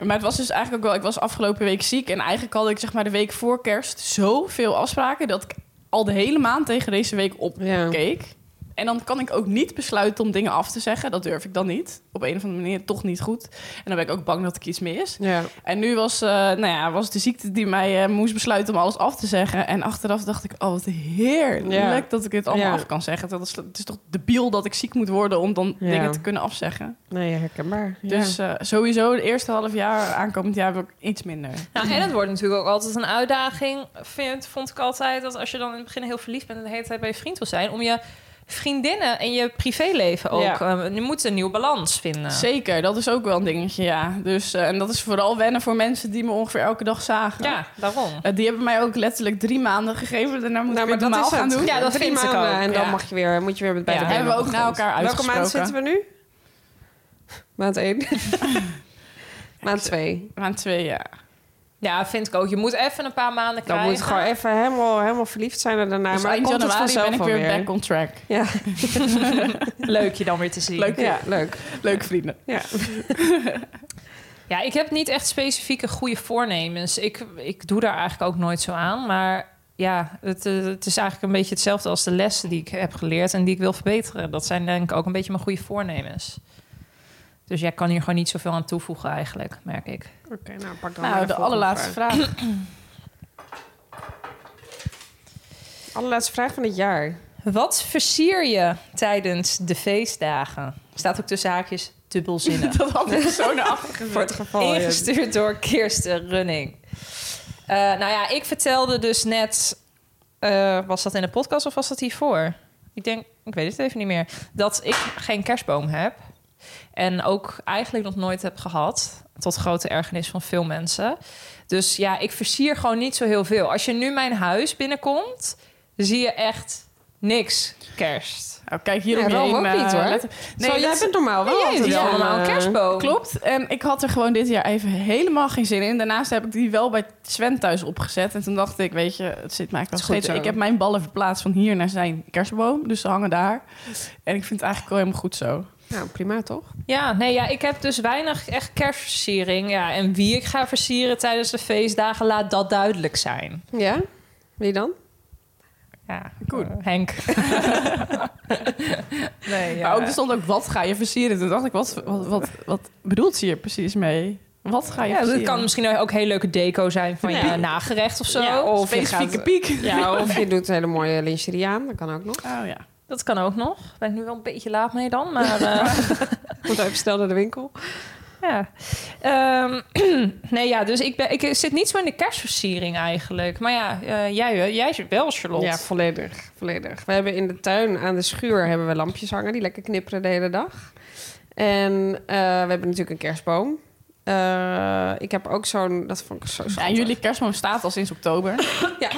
S5: maar het was dus eigenlijk ook wel... Ik was afgelopen week ziek. En eigenlijk had ik zeg maar de week voor kerst zoveel afspraken... dat ik al de hele maand tegen deze week
S7: Ja.
S5: opkeek. En dan kan ik ook niet besluiten om dingen af te zeggen. Dat durf ik dan niet. Op een of andere manier toch niet goed. En dan ben ik ook bang dat ik iets mis.
S7: Ja.
S5: En nu was, eh, nou ja, was de ziekte die mij eh, moest besluiten om alles af te zeggen. En achteraf dacht ik, oh wat heerlijk
S7: Ja.
S5: dat ik dit allemaal
S7: Ja.
S5: af kan zeggen. Dat is, het is toch debiel dat ik ziek moet worden om dan
S7: Ja.
S5: dingen te kunnen afzeggen.
S7: Nee, herkenbaar. Ja.
S5: Dus eh, sowieso de eerste half jaar, aankomend jaar, heb ik iets minder.
S6: Nou, en het wordt natuurlijk ook altijd een uitdaging, vind, vond ik altijd. Dat als je dan in het begin heel verliefd bent en de hele tijd bij je vriend wil zijn, om je vriendinnen en je privéleven ook.
S7: Ja.
S6: eh, je moet een nieuwe balans vinden.
S5: Zeker, dat is ook wel een dingetje, ja. Dus, eh, en dat is vooral wennen voor mensen die me ongeveer elke dag zagen.
S6: Ja, daarom.
S5: Eh, die hebben mij ook letterlijk drie maanden gegeven. Daarna moet
S7: Nou, maar
S5: ik het
S7: dat
S5: normaal
S7: is
S5: gaan
S7: het.
S5: doen.
S6: Ja, dat
S7: Drie
S6: vind ik
S7: maanden
S6: ook,
S7: En dan
S6: ja.
S7: mag je weer, moet je weer met beide
S5: Ja,
S7: benen
S5: hebben we
S7: op de
S5: ook naar
S7: grond.
S5: elkaar
S7: Welke maand
S5: uitgesproken.
S7: zitten we nu? Maand één. maand twee.
S5: Maand twee, ja. Dus
S6: Ja, vind ik ook. Je moet even een paar maanden
S7: Dan
S6: krijgen.
S7: moet je gewoon even helemaal, helemaal verliefd zijn er daarna.
S5: Dus
S7: maar dan
S5: eind
S7: komt het
S5: januari
S7: vanzelf
S5: ben ik weer
S7: alweer.
S5: back on track.
S7: Ja,
S6: Leuk je dan weer te zien.
S5: Leuk.
S7: ja, leuk.
S5: Leuk vrienden.
S7: Ja.
S6: Ja, ik heb niet echt specifieke goede voornemens. Ik, ik doe daar eigenlijk ook nooit zo aan. Maar ja, het, eh, het is eigenlijk een beetje hetzelfde als de lessen die ik heb geleerd en die ik wil verbeteren. Dat zijn denk ik ook een beetje mijn goede voornemens. Dus jij kan hier gewoon niet zoveel aan toevoegen eigenlijk, merk ik.
S7: Oké, nou pak dan maar
S5: Nou, de
S7: volgende
S5: allerlaatste
S7: vraag.
S5: vraag.
S7: Allerlaatste vraag van het jaar.
S6: Wat versier je tijdens de feestdagen? Staat ook tussen haakjes dubbelzinnig.
S5: Dat had ik zo naar achter.
S7: Voor het geval. ja.
S6: Ingestuurd door Kirsten Running. Eh, nou ja, ik vertelde dus net... eh, was dat in de podcast of was dat hiervoor? Ik denk, ik weet het even niet meer. Dat ik geen kerstboom heb. En ook eigenlijk nog nooit heb gehad. Tot grote ergernis van veel mensen. Dus ja, ik versier gewoon niet zo heel veel. Als je nu mijn huis binnenkomt... zie je echt niks kerst.
S5: Nou, kijk hier
S7: Ja,
S5: om je
S7: Rome
S5: heen,
S7: ook
S5: eh,
S7: niet, hoor.
S5: letten.
S7: Nee,
S5: dat
S7: jij
S5: is-
S7: bent normaal wel
S6: Jij
S7: altijd
S6: ziet
S7: wel
S6: allemaal een
S7: eh,
S6: kerstboom.
S5: Klopt. En ik had er gewoon dit jaar even helemaal geen zin in. Daarnaast heb ik die wel bij Sven thuis opgezet. En toen dacht ik, weet je, het zit mij
S7: Het is
S5: eigenlijk nog steeds.
S7: goed zo.
S5: Ik heb mijn ballen verplaatst van hier naar zijn kerstboom. Dus ze hangen daar. En ik vind het eigenlijk wel helemaal goed zo.
S7: Nou, prima toch?
S6: Ja, nee, ja, ik heb dus weinig echt kerstversiering. Ja, en wie ik ga versieren tijdens de feestdagen, laat dat duidelijk zijn.
S7: Ja? Wie dan?
S6: Ja,
S5: Goed.
S6: eh, Henk. dus- nee, ja.
S5: Maar ook, er stond ook, wat ga je versieren? Toen dacht ik, wat, wat, wat, wat bedoelt ze hier precies mee? Wat ga je
S6: ja, dat
S5: versieren?
S6: kan misschien ook heel leuke deco zijn van je
S7: Ja.
S6: nagerecht of zo.
S7: Ja,
S5: Of
S7: of je
S5: specifieke
S7: gaat-
S5: piek.
S7: Ja, of je doet een hele mooie lingerie aan. Dat kan ook nog.
S5: Oh ja.
S6: Dat kan ook nog. Ben ik nu wel een beetje laat mee dan, maar... eh,
S7: Moet even snel naar de winkel.
S6: Ja. Ehm, nee, ja, dus ik, ben, ik zit niet zo in de kerstversiering eigenlijk. Maar ja, eh, jij, jij wel, Charlotte.
S7: Ja, volledig, volledig. We hebben in de tuin aan de schuur hebben we lampjes hangen die lekker knipperen de hele dag. En eh, we hebben natuurlijk een kerstboom. Eh, ik heb ook zo'n, dat vond ik zo
S5: Ja, en
S7: schattig.
S5: jullie kerstboom staat al sinds oktober.
S7: Ja,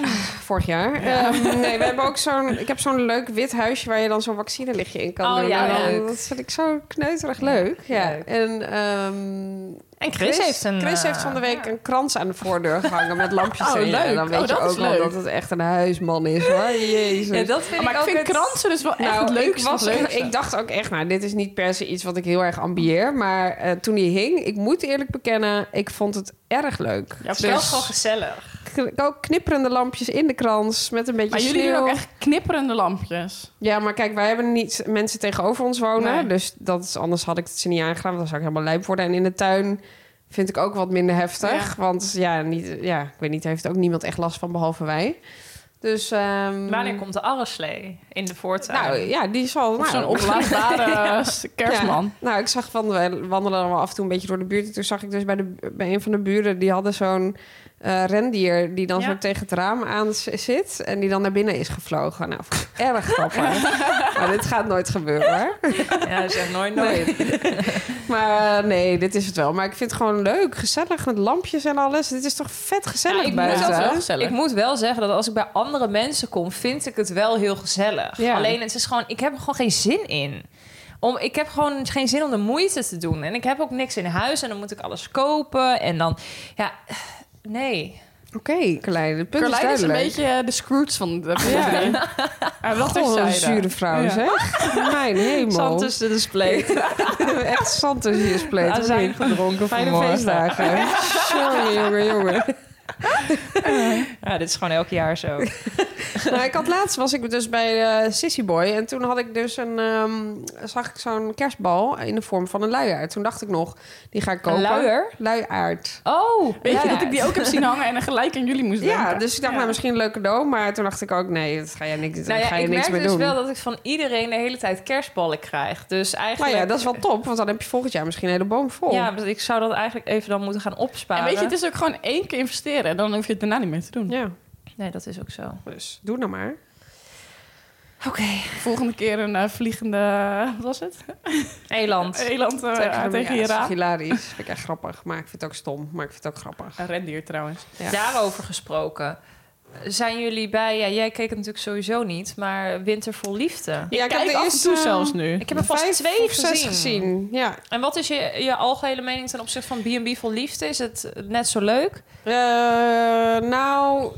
S7: vorig jaar. Ehm, nee, we hebben ook zo'n, ik heb zo'n leuk wit huisje waar je dan zo'n vaccinelichtje in kan
S6: Oh,
S7: doen.
S6: ja,
S7: En dan-
S6: leuk.
S7: Dat vind ik zo kneuterig leuk. Ja,
S6: leuk.
S7: en ehm,
S6: En Chris, heeft een...
S7: Chris
S6: eh,
S7: heeft van de week een krans aan de voordeur gehangen met lampjes
S5: Oh,
S7: erin. En
S5: leuk.
S7: dan weet
S5: Oh,
S7: je
S5: dat is
S7: ook wel
S5: leuk.
S7: dat het echt een huisman is hoor. Jezus.
S6: Ja, dat vind
S5: maar ik
S6: ook
S5: vind
S6: het-
S5: kransen dus wel echt
S7: Nou,
S5: het leukste.
S7: ik, was,
S5: het leukste.
S7: ik dacht ook echt, nou, dit is niet per se iets wat ik heel erg ambieer. Maar eh, toen die hing, ik moet eerlijk bekennen, ik vond het erg leuk.
S5: Ja,
S6: Het is wel gewoon gezellig.
S7: k- ook knipperende lampjes in de krans met een beetje
S5: maar jullie
S7: sneeuw.
S5: doen ook echt knipperende lampjes.
S7: Ja, maar kijk, wij hebben niet mensen tegenover ons wonen.
S5: Nee.
S7: Dus dat is, anders had ik het ze niet aangedaan, want dan zou ik helemaal lijp worden. En in de tuin vind ik ook wat minder heftig. Want ja, niet, ja, ik weet niet, daar heeft ook niemand echt last van, behalve wij. Dus... ehm,
S6: Wanneer komt de arreslee in de voortuin?
S7: Nou ja, die is al...
S5: Of
S7: nou,
S5: zo'n opblaasbare eh, kerstman.
S7: Ja, nou, ik zag van, we wandelen dan wel af en toe een beetje door de buurt. En toen zag ik dus bij, de, bij een van de buren, die hadden zo'n eh, rendier die dan
S6: Ja.
S7: zo tegen het raam aan z- zit. En die dan naar binnen is gevlogen. Nou, vond ik erg grappig. maar dit gaat nooit gebeuren hoor.
S6: ja, dat is echt nooit nooit.
S7: Nee. maar eh, nee, dit is het wel. Maar ik vind het gewoon leuk, gezellig met lampjes en alles. Dit is toch vet gezellig
S6: Ja, ik moet
S7: buiten.
S6: dat
S7: hè?
S5: wel gezellig.
S6: Ik moet wel zeggen dat als ik bij andere mensen kom, vind ik het wel heel gezellig.
S7: Ja.
S6: Alleen het is gewoon, ik heb er gewoon geen zin in. Om, ik heb gewoon geen zin om de moeite te doen. En ik heb ook niks in huis en dan moet ik alles kopen. En dan, ja, nee.
S7: Oké, Carlijn, het punt
S5: Carlijn
S7: is
S5: is een
S7: duidelijk.
S5: beetje eh, de Scrooge van de
S7: Ja.
S5: ja. Hij wacht
S7: Goh, wat een
S5: terzijde.
S7: zure vrouw,
S5: Ja.
S7: zeg. Mijn hemel.
S6: Zand tussen de spleet.
S7: Echt zand tussen je spleet.
S6: Aan
S7: of
S6: zijn
S7: niet?
S6: gedronken
S7: Fijne
S6: vanmorgen.
S7: feestdagen. jongen, jongen, jongen.
S6: Ja, dit is gewoon elk jaar zo.
S7: Nou, ik had laatst was ik dus bij eh Sissy Boy en toen had ik dus een ehm, zag ik zo'n kerstbal in de vorm van een luiaard. Toen dacht ik nog, die ga ik kopen.
S6: Een luier?
S7: Luiaard.
S6: Oh,
S5: Weet je
S6: ja.
S5: dat ik die ook heb zien hangen en er gelijk aan jullie moest denken?
S7: Ja, dus ik dacht, nou, misschien een leuk cadeau, maar toen dacht ik ook, nee, dat ga jij niks,
S6: Nou
S7: daar
S6: ja,
S7: ga je
S6: ik
S7: niks
S6: merk
S7: mee
S6: dus
S7: doen.
S6: wel dat ik van iedereen de hele tijd kerstballen krijg. Dus
S7: Maar
S6: eigenlijk...
S7: ja, dat is wel top, want dan heb je volgend jaar misschien een hele boom vol.
S6: Ja, dus ik zou dat eigenlijk even dan moeten gaan opsparen.
S5: En weet je, het is ook gewoon één keer investeren. En dan hoef je het daarna niet meer te doen.
S7: Ja,
S6: Nee, dat is ook zo.
S7: dus doe nou maar.
S6: Oké.
S5: Volgende keer een eh, vliegende... Wat was het?
S6: Eland.
S5: Eland eh,
S7: Trek hem-
S5: tegen
S7: ja,
S5: je
S7: dat is
S5: raam.
S7: Hilarisch. Vind ik echt grappig, maar ik vind het ook stom, maar ik vind het ook grappig.
S5: Een rendier trouwens.
S7: Ja.
S6: Daarover gesproken. Zijn jullie bij, ja, jij keek het natuurlijk sowieso niet, maar Winter vol Liefde.
S7: Ja, ik
S5: Kijk,
S7: heb de
S5: af en
S7: eerste
S5: toe zelfs nu.
S6: Ik heb er vast
S7: vijf
S6: twee
S7: of zes
S6: gezien.
S7: gezien. Ja.
S6: En wat is je, je algehele mening ten opzichte van B&B vol Liefde? Is het net zo leuk?
S7: Eh, nou,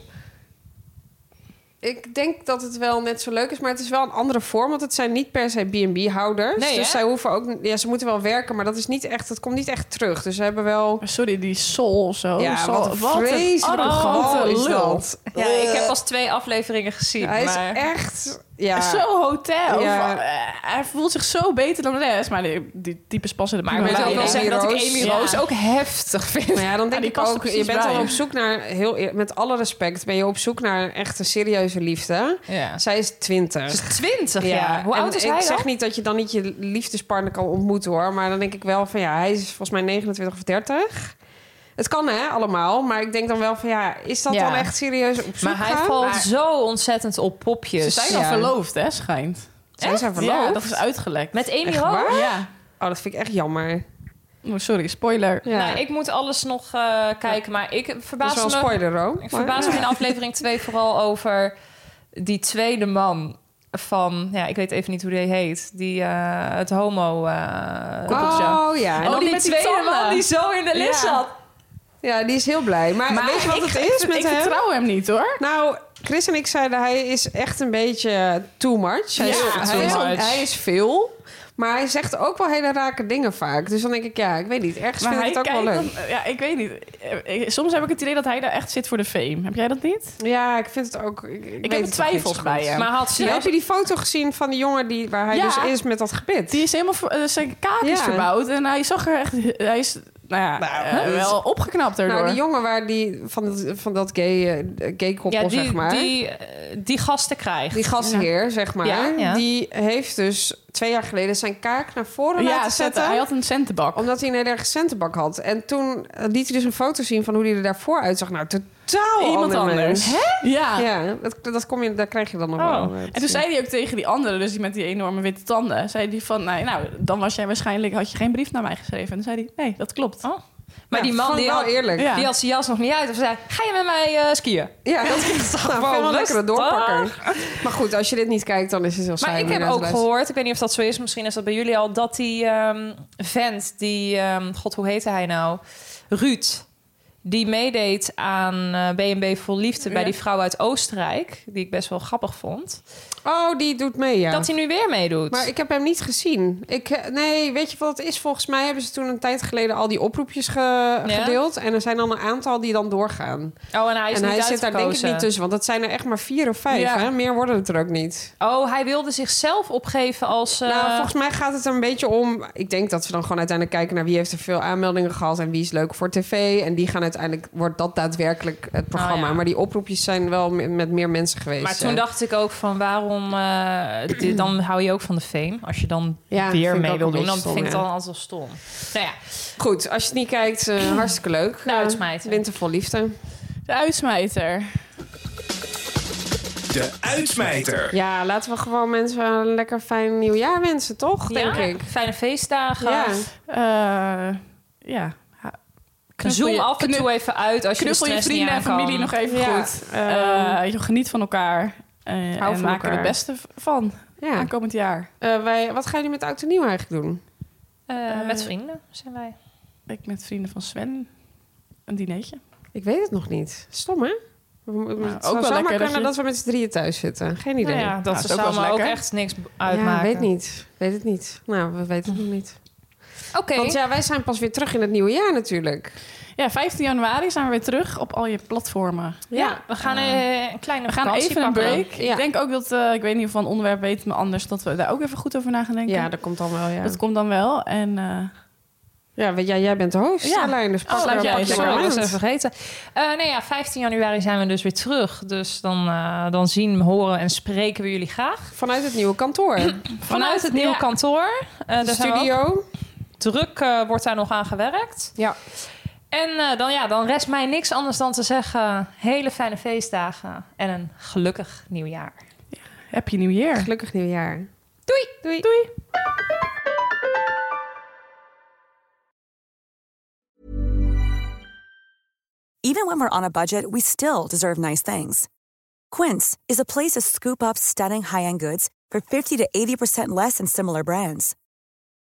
S7: ik denk dat het wel net zo leuk is, maar het is wel een andere vorm, want het zijn niet per se B&B-houders.
S6: Nee,
S7: dus
S6: hè?
S7: zij hoeven ook, ja, ze moeten wel werken, maar dat is niet echt, dat komt niet echt terug. Dus ze hebben wel.
S5: Maar Sorry, die soul of zo.
S7: Ja,
S5: Soul-
S7: wat een vreselijk
S5: arrogante
S7: gal is
S5: lul.
S7: dat.
S6: Ja, ik heb pas twee afleveringen gezien.
S7: eh, Hij is
S6: maar...
S7: echt, ja.
S5: Zo hotel.
S7: Ja.
S5: Van, eh, hij voelt zich zo beter dan de rest. Maar die, die types passen er
S6: Maar ik
S5: prima
S6: moet
S7: Maar
S6: ook
S5: bij,
S6: wel
S5: hè?
S6: zeggen dat ik
S7: Roos-
S6: Amy
S5: Ja.
S6: Roos ook heftig vind.
S7: Maar ja, dan
S5: Ja,
S7: denk
S5: die
S7: ik
S5: past er
S7: ook, je
S5: precies
S7: bent
S5: bij.
S7: al op zoek naar, heel, eer- met alle respect, ben je op zoek naar echt een serieuze liefde.
S6: Ja.
S7: Zij is twintig.
S6: Ze is 20 jaar. Hoe
S7: en
S6: oud is
S7: ik
S6: hij
S7: zeg
S6: dan?
S7: niet dat je dan niet je liefdespartner kan ontmoeten hoor. Maar dan denk ik wel van ja, hij is volgens mij 29 of 30. Het kan hè, allemaal. Maar ik denk dan wel van ja, is dat
S6: Ja.
S7: dan echt serieus op zoek
S6: Maar hij
S7: gaan?
S6: valt
S5: Maar-
S6: zo ontzettend op popjes.
S5: Ze zijn al
S7: Dus Ja.
S5: verloofd, hè, schijnt.
S7: Zijn ze verloofd?
S5: Ja, dat is uitgelekt.
S6: Met Amy
S7: Echt
S6: Roos?
S7: waar?
S5: Ja.
S7: Oh, dat vind ik echt jammer.
S5: Oh, sorry, spoiler.
S7: Ja.
S6: Nou, ik moet alles nog eh, kijken, maar ik
S7: dat is
S6: verbaas
S7: wel een
S6: me...
S7: spoiler ook.
S6: Ik
S7: maar-
S6: verbaas me in aflevering 2 vooral over die tweede man van... Ja, ik weet even niet hoe die heet. Die, eh, het homo... eh koppeltje.
S7: Oh ja.
S6: En dan
S5: die
S6: die,
S5: met die
S6: tweede
S5: tanden.
S6: man die zo in de list
S5: Ja.
S6: zat.
S7: Ja, die is heel blij. Maar, weet je wat
S5: ik,
S7: het
S5: ik-
S7: is met
S5: Dus ik
S7: hem?
S5: vertrouw hem niet, hoor.
S7: Nou, Chris en ik zeiden hij is echt een beetje too much. Hij, is,
S5: Ja,
S7: hij, is,
S5: too much.
S7: hij is veel, maar hij zegt ook wel hele rake dingen vaak. Dus dan denk ik, ja, ik weet niet. Ergens vind ik het ook wel leuk.
S5: dan- ja, ik weet niet. Eh, eh, Soms heb ik het idee dat hij daar echt zit voor de fame. Heb jij dat niet?
S7: Ja, ik vind het ook. Ik, ik weet
S5: heb
S7: het
S5: twijfels
S7: nog niet zo goed.
S5: bij hem.
S6: Maar had ze
S7: Maar heb je die foto gezien van die jongen die, waar hij
S5: Ja.
S7: dus is met dat gebit?
S5: Die is helemaal... ver- eh, zijn kaak is
S7: Ja.
S5: verbouwd. En hij zag er echt... Hij is, nou ja,
S7: Nou,
S5: eh,
S7: dat is-
S5: wel opgeknapt daardoor.
S7: nou, die jongen waar die, van, dat- van dat gay, eh, gay koppel,
S6: ja, die,
S7: zeg maar.
S6: die, eh, die gasten krijgt.
S7: Die gastheer, zeg maar.
S6: Ja, ja.
S7: Die heeft dus twee jaar geleden zijn kaak naar voren
S5: ja,
S7: laten
S5: zette-
S7: zetten. Oh.
S5: hij had een centenbak.
S7: Omdat hij een hele erg centenbak had. En toen eh, liet hij dus een foto zien van hoe hij er daarvoor uitzag. Nou, totaal
S5: Iemand
S7: ander
S5: anders.
S7: mens.
S5: Ja.
S7: Ja, dat, dat kom je, daar krijg je dan nog
S6: Oh.
S7: wel. eh, te
S5: En toen
S7: zien.
S5: zei hij ook tegen die andere, dus die met die enorme witte tanden, zei hij van, nou, nou dan was jij waarschijnlijk, had je geen brief naar mij geschreven. En toen zei hij, nee, dat klopt.
S7: Oh.
S6: Maar
S7: Ja,
S6: die man
S7: vond ik
S6: die
S7: wel
S6: had,
S7: eerlijk.
S5: Ja.
S6: die had zijn jas nog niet uit. Of zei, ga je met mij eh, skiën?
S7: Ja, dat is toch
S6: gewoon
S7: wel een lekkere
S6: rustig.
S7: doorpakker. Maar goed, als je dit niet kijkt, dan is het heel saai.
S6: Maar ik
S7: om
S6: heb
S7: hiernaar te
S6: ook
S7: luisteren.
S6: gehoord, ik weet niet of dat zo is, misschien is dat bij jullie al, dat die ehm, vent, die, ehm, god hoe heette hij nou? Ruud, die meedeed aan eh, BNB Vol Liefde bij
S5: Ja.
S6: die vrouw uit Oostenrijk, die ik best wel grappig vond,
S7: Oh, die doet mee, ja.
S6: dat hij nu weer meedoet.
S7: Maar ik heb hem niet gezien. Ik, eh, nee, weet je wat het is? Volgens mij hebben ze toen een tijd geleden al die oproepjes ge-
S6: Ja.
S7: gedeeld. En er zijn dan een aantal die dan doorgaan.
S6: oh, en hij is
S7: en
S6: niet
S7: hij zit daar denk ik
S6: uitgekozen.
S7: niet tussen. Want dat zijn er echt maar vier of vijf.
S5: Ja.
S7: Hè? Meer worden het er ook niet.
S6: Oh, hij wilde zichzelf opgeven als... eh,
S7: Nou, volgens mij gaat het er een beetje om. Ik denk dat ze dan gewoon uiteindelijk kijken naar wie heeft er veel aanmeldingen gehad en wie is leuk voor tv. En die gaan uiteindelijk, wordt dat daadwerkelijk het programma.
S6: Oh, ja.
S7: Maar die oproepjes zijn wel me- met meer mensen geweest.
S6: maar toen
S7: eh.
S6: dacht ik ook van waarom, eh, dit- dan hou je ook van de fame. Als je dan
S7: Ja, vind
S6: weer
S7: ik
S6: mee
S7: ook
S6: wil
S7: een
S6: doen, dan
S7: beetje stom,
S6: vind ik het
S7: ja.
S6: dan altijd wel stom. Nou ja,
S7: Goed, als je het niet kijkt, eh, hartstikke leuk.
S6: Nou, het smijten.
S7: Eh, Winter vol liefde.
S5: De uitsmijter.
S3: De uitsmijter.
S7: Ja, laten we gewoon mensen een lekker fijn nieuwjaar wensen, toch? Denk
S6: ja,
S7: ik.
S6: fijne feestdagen.
S7: Ja.
S5: Eh, ja. Ha- Knuffel
S6: Zoom
S5: je-
S6: af en
S5: knu-
S6: toe even uit als je de
S5: Knuffel je
S6: stress
S5: vrienden en
S6: niet aan
S5: familie
S6: kan.
S5: nog even
S7: Ja. Ehm,
S5: goed. Eh, je geniet van elkaar. eh, en
S7: van
S5: maak er
S7: elkaar.
S5: het beste v- van
S7: ja.
S5: aankomend jaar.
S7: Eh, wij, wat gaan jullie met oud en nieuw eigenlijk doen?
S6: Eh,
S5: Eh,
S6: met vrienden zijn wij.
S5: Ik met vrienden van Sven een dinertje.
S7: Ik weet het nog niet. Stom, hè? We- we- Het
S5: Nou, ook
S7: zou zomaar
S5: wel lekker dat
S7: kunnen
S5: je-
S7: dat we met z'n drieën thuis zitten. Geen idee.
S6: Nou ja, dat
S5: is ook wel
S6: zou
S5: eens
S6: me ook
S5: lekker.
S6: echt niks b- uitmaken.
S7: Ja, weet niet. Weet het niet. Nou, we weten het nog niet.
S6: Oké.
S7: Want ja, wij zijn pas weer terug in het nieuwe jaar natuurlijk.
S5: Ja, 15 januari zijn we weer terug op al je platformen.
S6: ja, we gaan eh, een kleine
S5: We gaan
S6: vakantie
S5: even een
S6: pakken.
S5: break.
S7: Ja.
S5: Ik denk ook dat, eh, ik weet niet of van onderwerp weet me anders, dat we daar ook even goed over na gaan denken.
S7: Ja, dat komt dan wel, ja.
S5: Dat komt dan wel. En eh,
S7: Ja, want jij, jij bent de host,
S5: Ja.
S7: Carlijn, dus pak
S5: Oh,
S7: er-
S5: sluit jij
S7: pak
S5: eens
S7: je
S5: aan.
S7: maar
S6: Sorry, ik was
S7: aan.
S6: even vergeten. Eh, nee, ja, 15 januari zijn we dus weer terug. Dus dan, eh, dan zien, horen en spreken we jullie graag.
S7: Vanuit het nieuwe kantoor.
S6: Vanuit, het nieuwe
S5: ja.
S6: kantoor. Eh, daar zijn we ook
S7: Studio.
S6: druk eh, wordt daar nog aan gewerkt.
S7: Ja.
S6: En eh, dan, ja, dan rest mij niks anders dan te zeggen... hele fijne feestdagen en een gelukkig nieuwjaar.
S5: happy new year.
S7: Gelukkig nieuwjaar.
S6: Doei!
S7: Doei.
S8: Even when we're on a budget, we still deserve nice things. Quince is a place to scoop up stunning high-end goods for 50 to 80% less than similar brands.